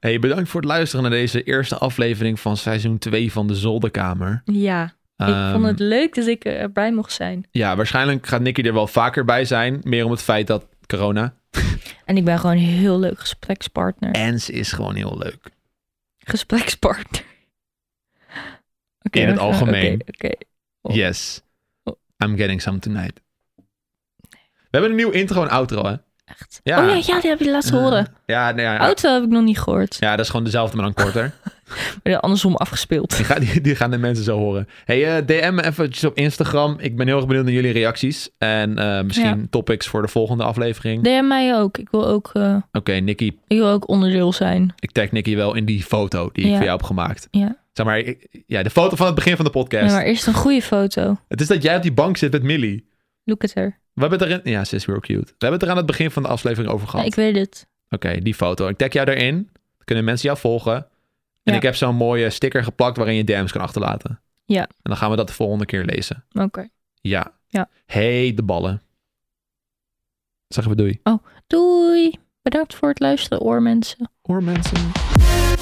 S1: Hey, bedankt voor het luisteren naar deze eerste aflevering van seizoen 2 van de Zolderkamer.
S2: ja, ik
S1: Ehm,
S2: vond het leuk dat ik erbij mocht zijn.
S1: Ja, waarschijnlijk gaat Nicky er wel vaker bij zijn. Meer om het feit dat corona.
S2: En ik ben gewoon een heel leuk gesprekspartner.
S1: En ze is gewoon heel leuk.
S2: Gesprekspartner. Oké,
S1: In het
S2: we gaan- oké,
S1: algemeen.
S2: Oké, Oh.
S1: Yes.
S2: Oh.
S1: I'm getting some tonight. We hebben een nieuw intro en outro, hè?
S2: echt.
S1: Ja.
S2: Oh ja, ja, die heb je laatst horen.
S1: Ja, nee, ja, ja.
S2: Auto heb ik nog niet gehoord.
S1: ja, dat is gewoon dezelfde, maar dan korter.
S2: Maar andersom afgespeeld.
S1: Die, ga- die, die gaan de mensen zo horen. Hey, eh, DM me eventjes op Instagram. Ik ben heel erg benieuwd naar jullie reacties. En eh, misschien topics voor de volgende aflevering.
S2: DM mij ook. Ik wil ook, eh,
S1: Oké, Nicky.
S2: ik wil ook onderdeel zijn.
S1: Ik tag Nicky wel in die foto die ik
S2: Ja.
S1: voor jou heb gemaakt.
S2: Ja.
S1: Zeg maar, ik- ja, de foto van het begin van de podcast.
S2: Ja, maar eerst een goede foto.
S1: Het is dat jij op die bank zit met Millie.
S2: Look at her.
S1: We hebben het er in... Ja, ze is heel cute. We hebben het er aan het begin van de aflevering over
S2: Ja,
S1: gehad.
S2: ik weet het.
S1: Oké, die foto. Ik tag jou daarin. Dan kunnen mensen jou volgen. En
S2: Ja.
S1: ik heb zo'n mooie sticker geplakt waarin je DM's kan achterlaten.
S2: Ja.
S1: En dan gaan we dat de volgende keer lezen.
S2: Oké.
S1: Ja.
S2: Ja.
S1: Hey, de ballen. Zeggen we doei.
S2: Doei. Bedankt voor het luisteren, oormensen.
S1: Hoor mensen.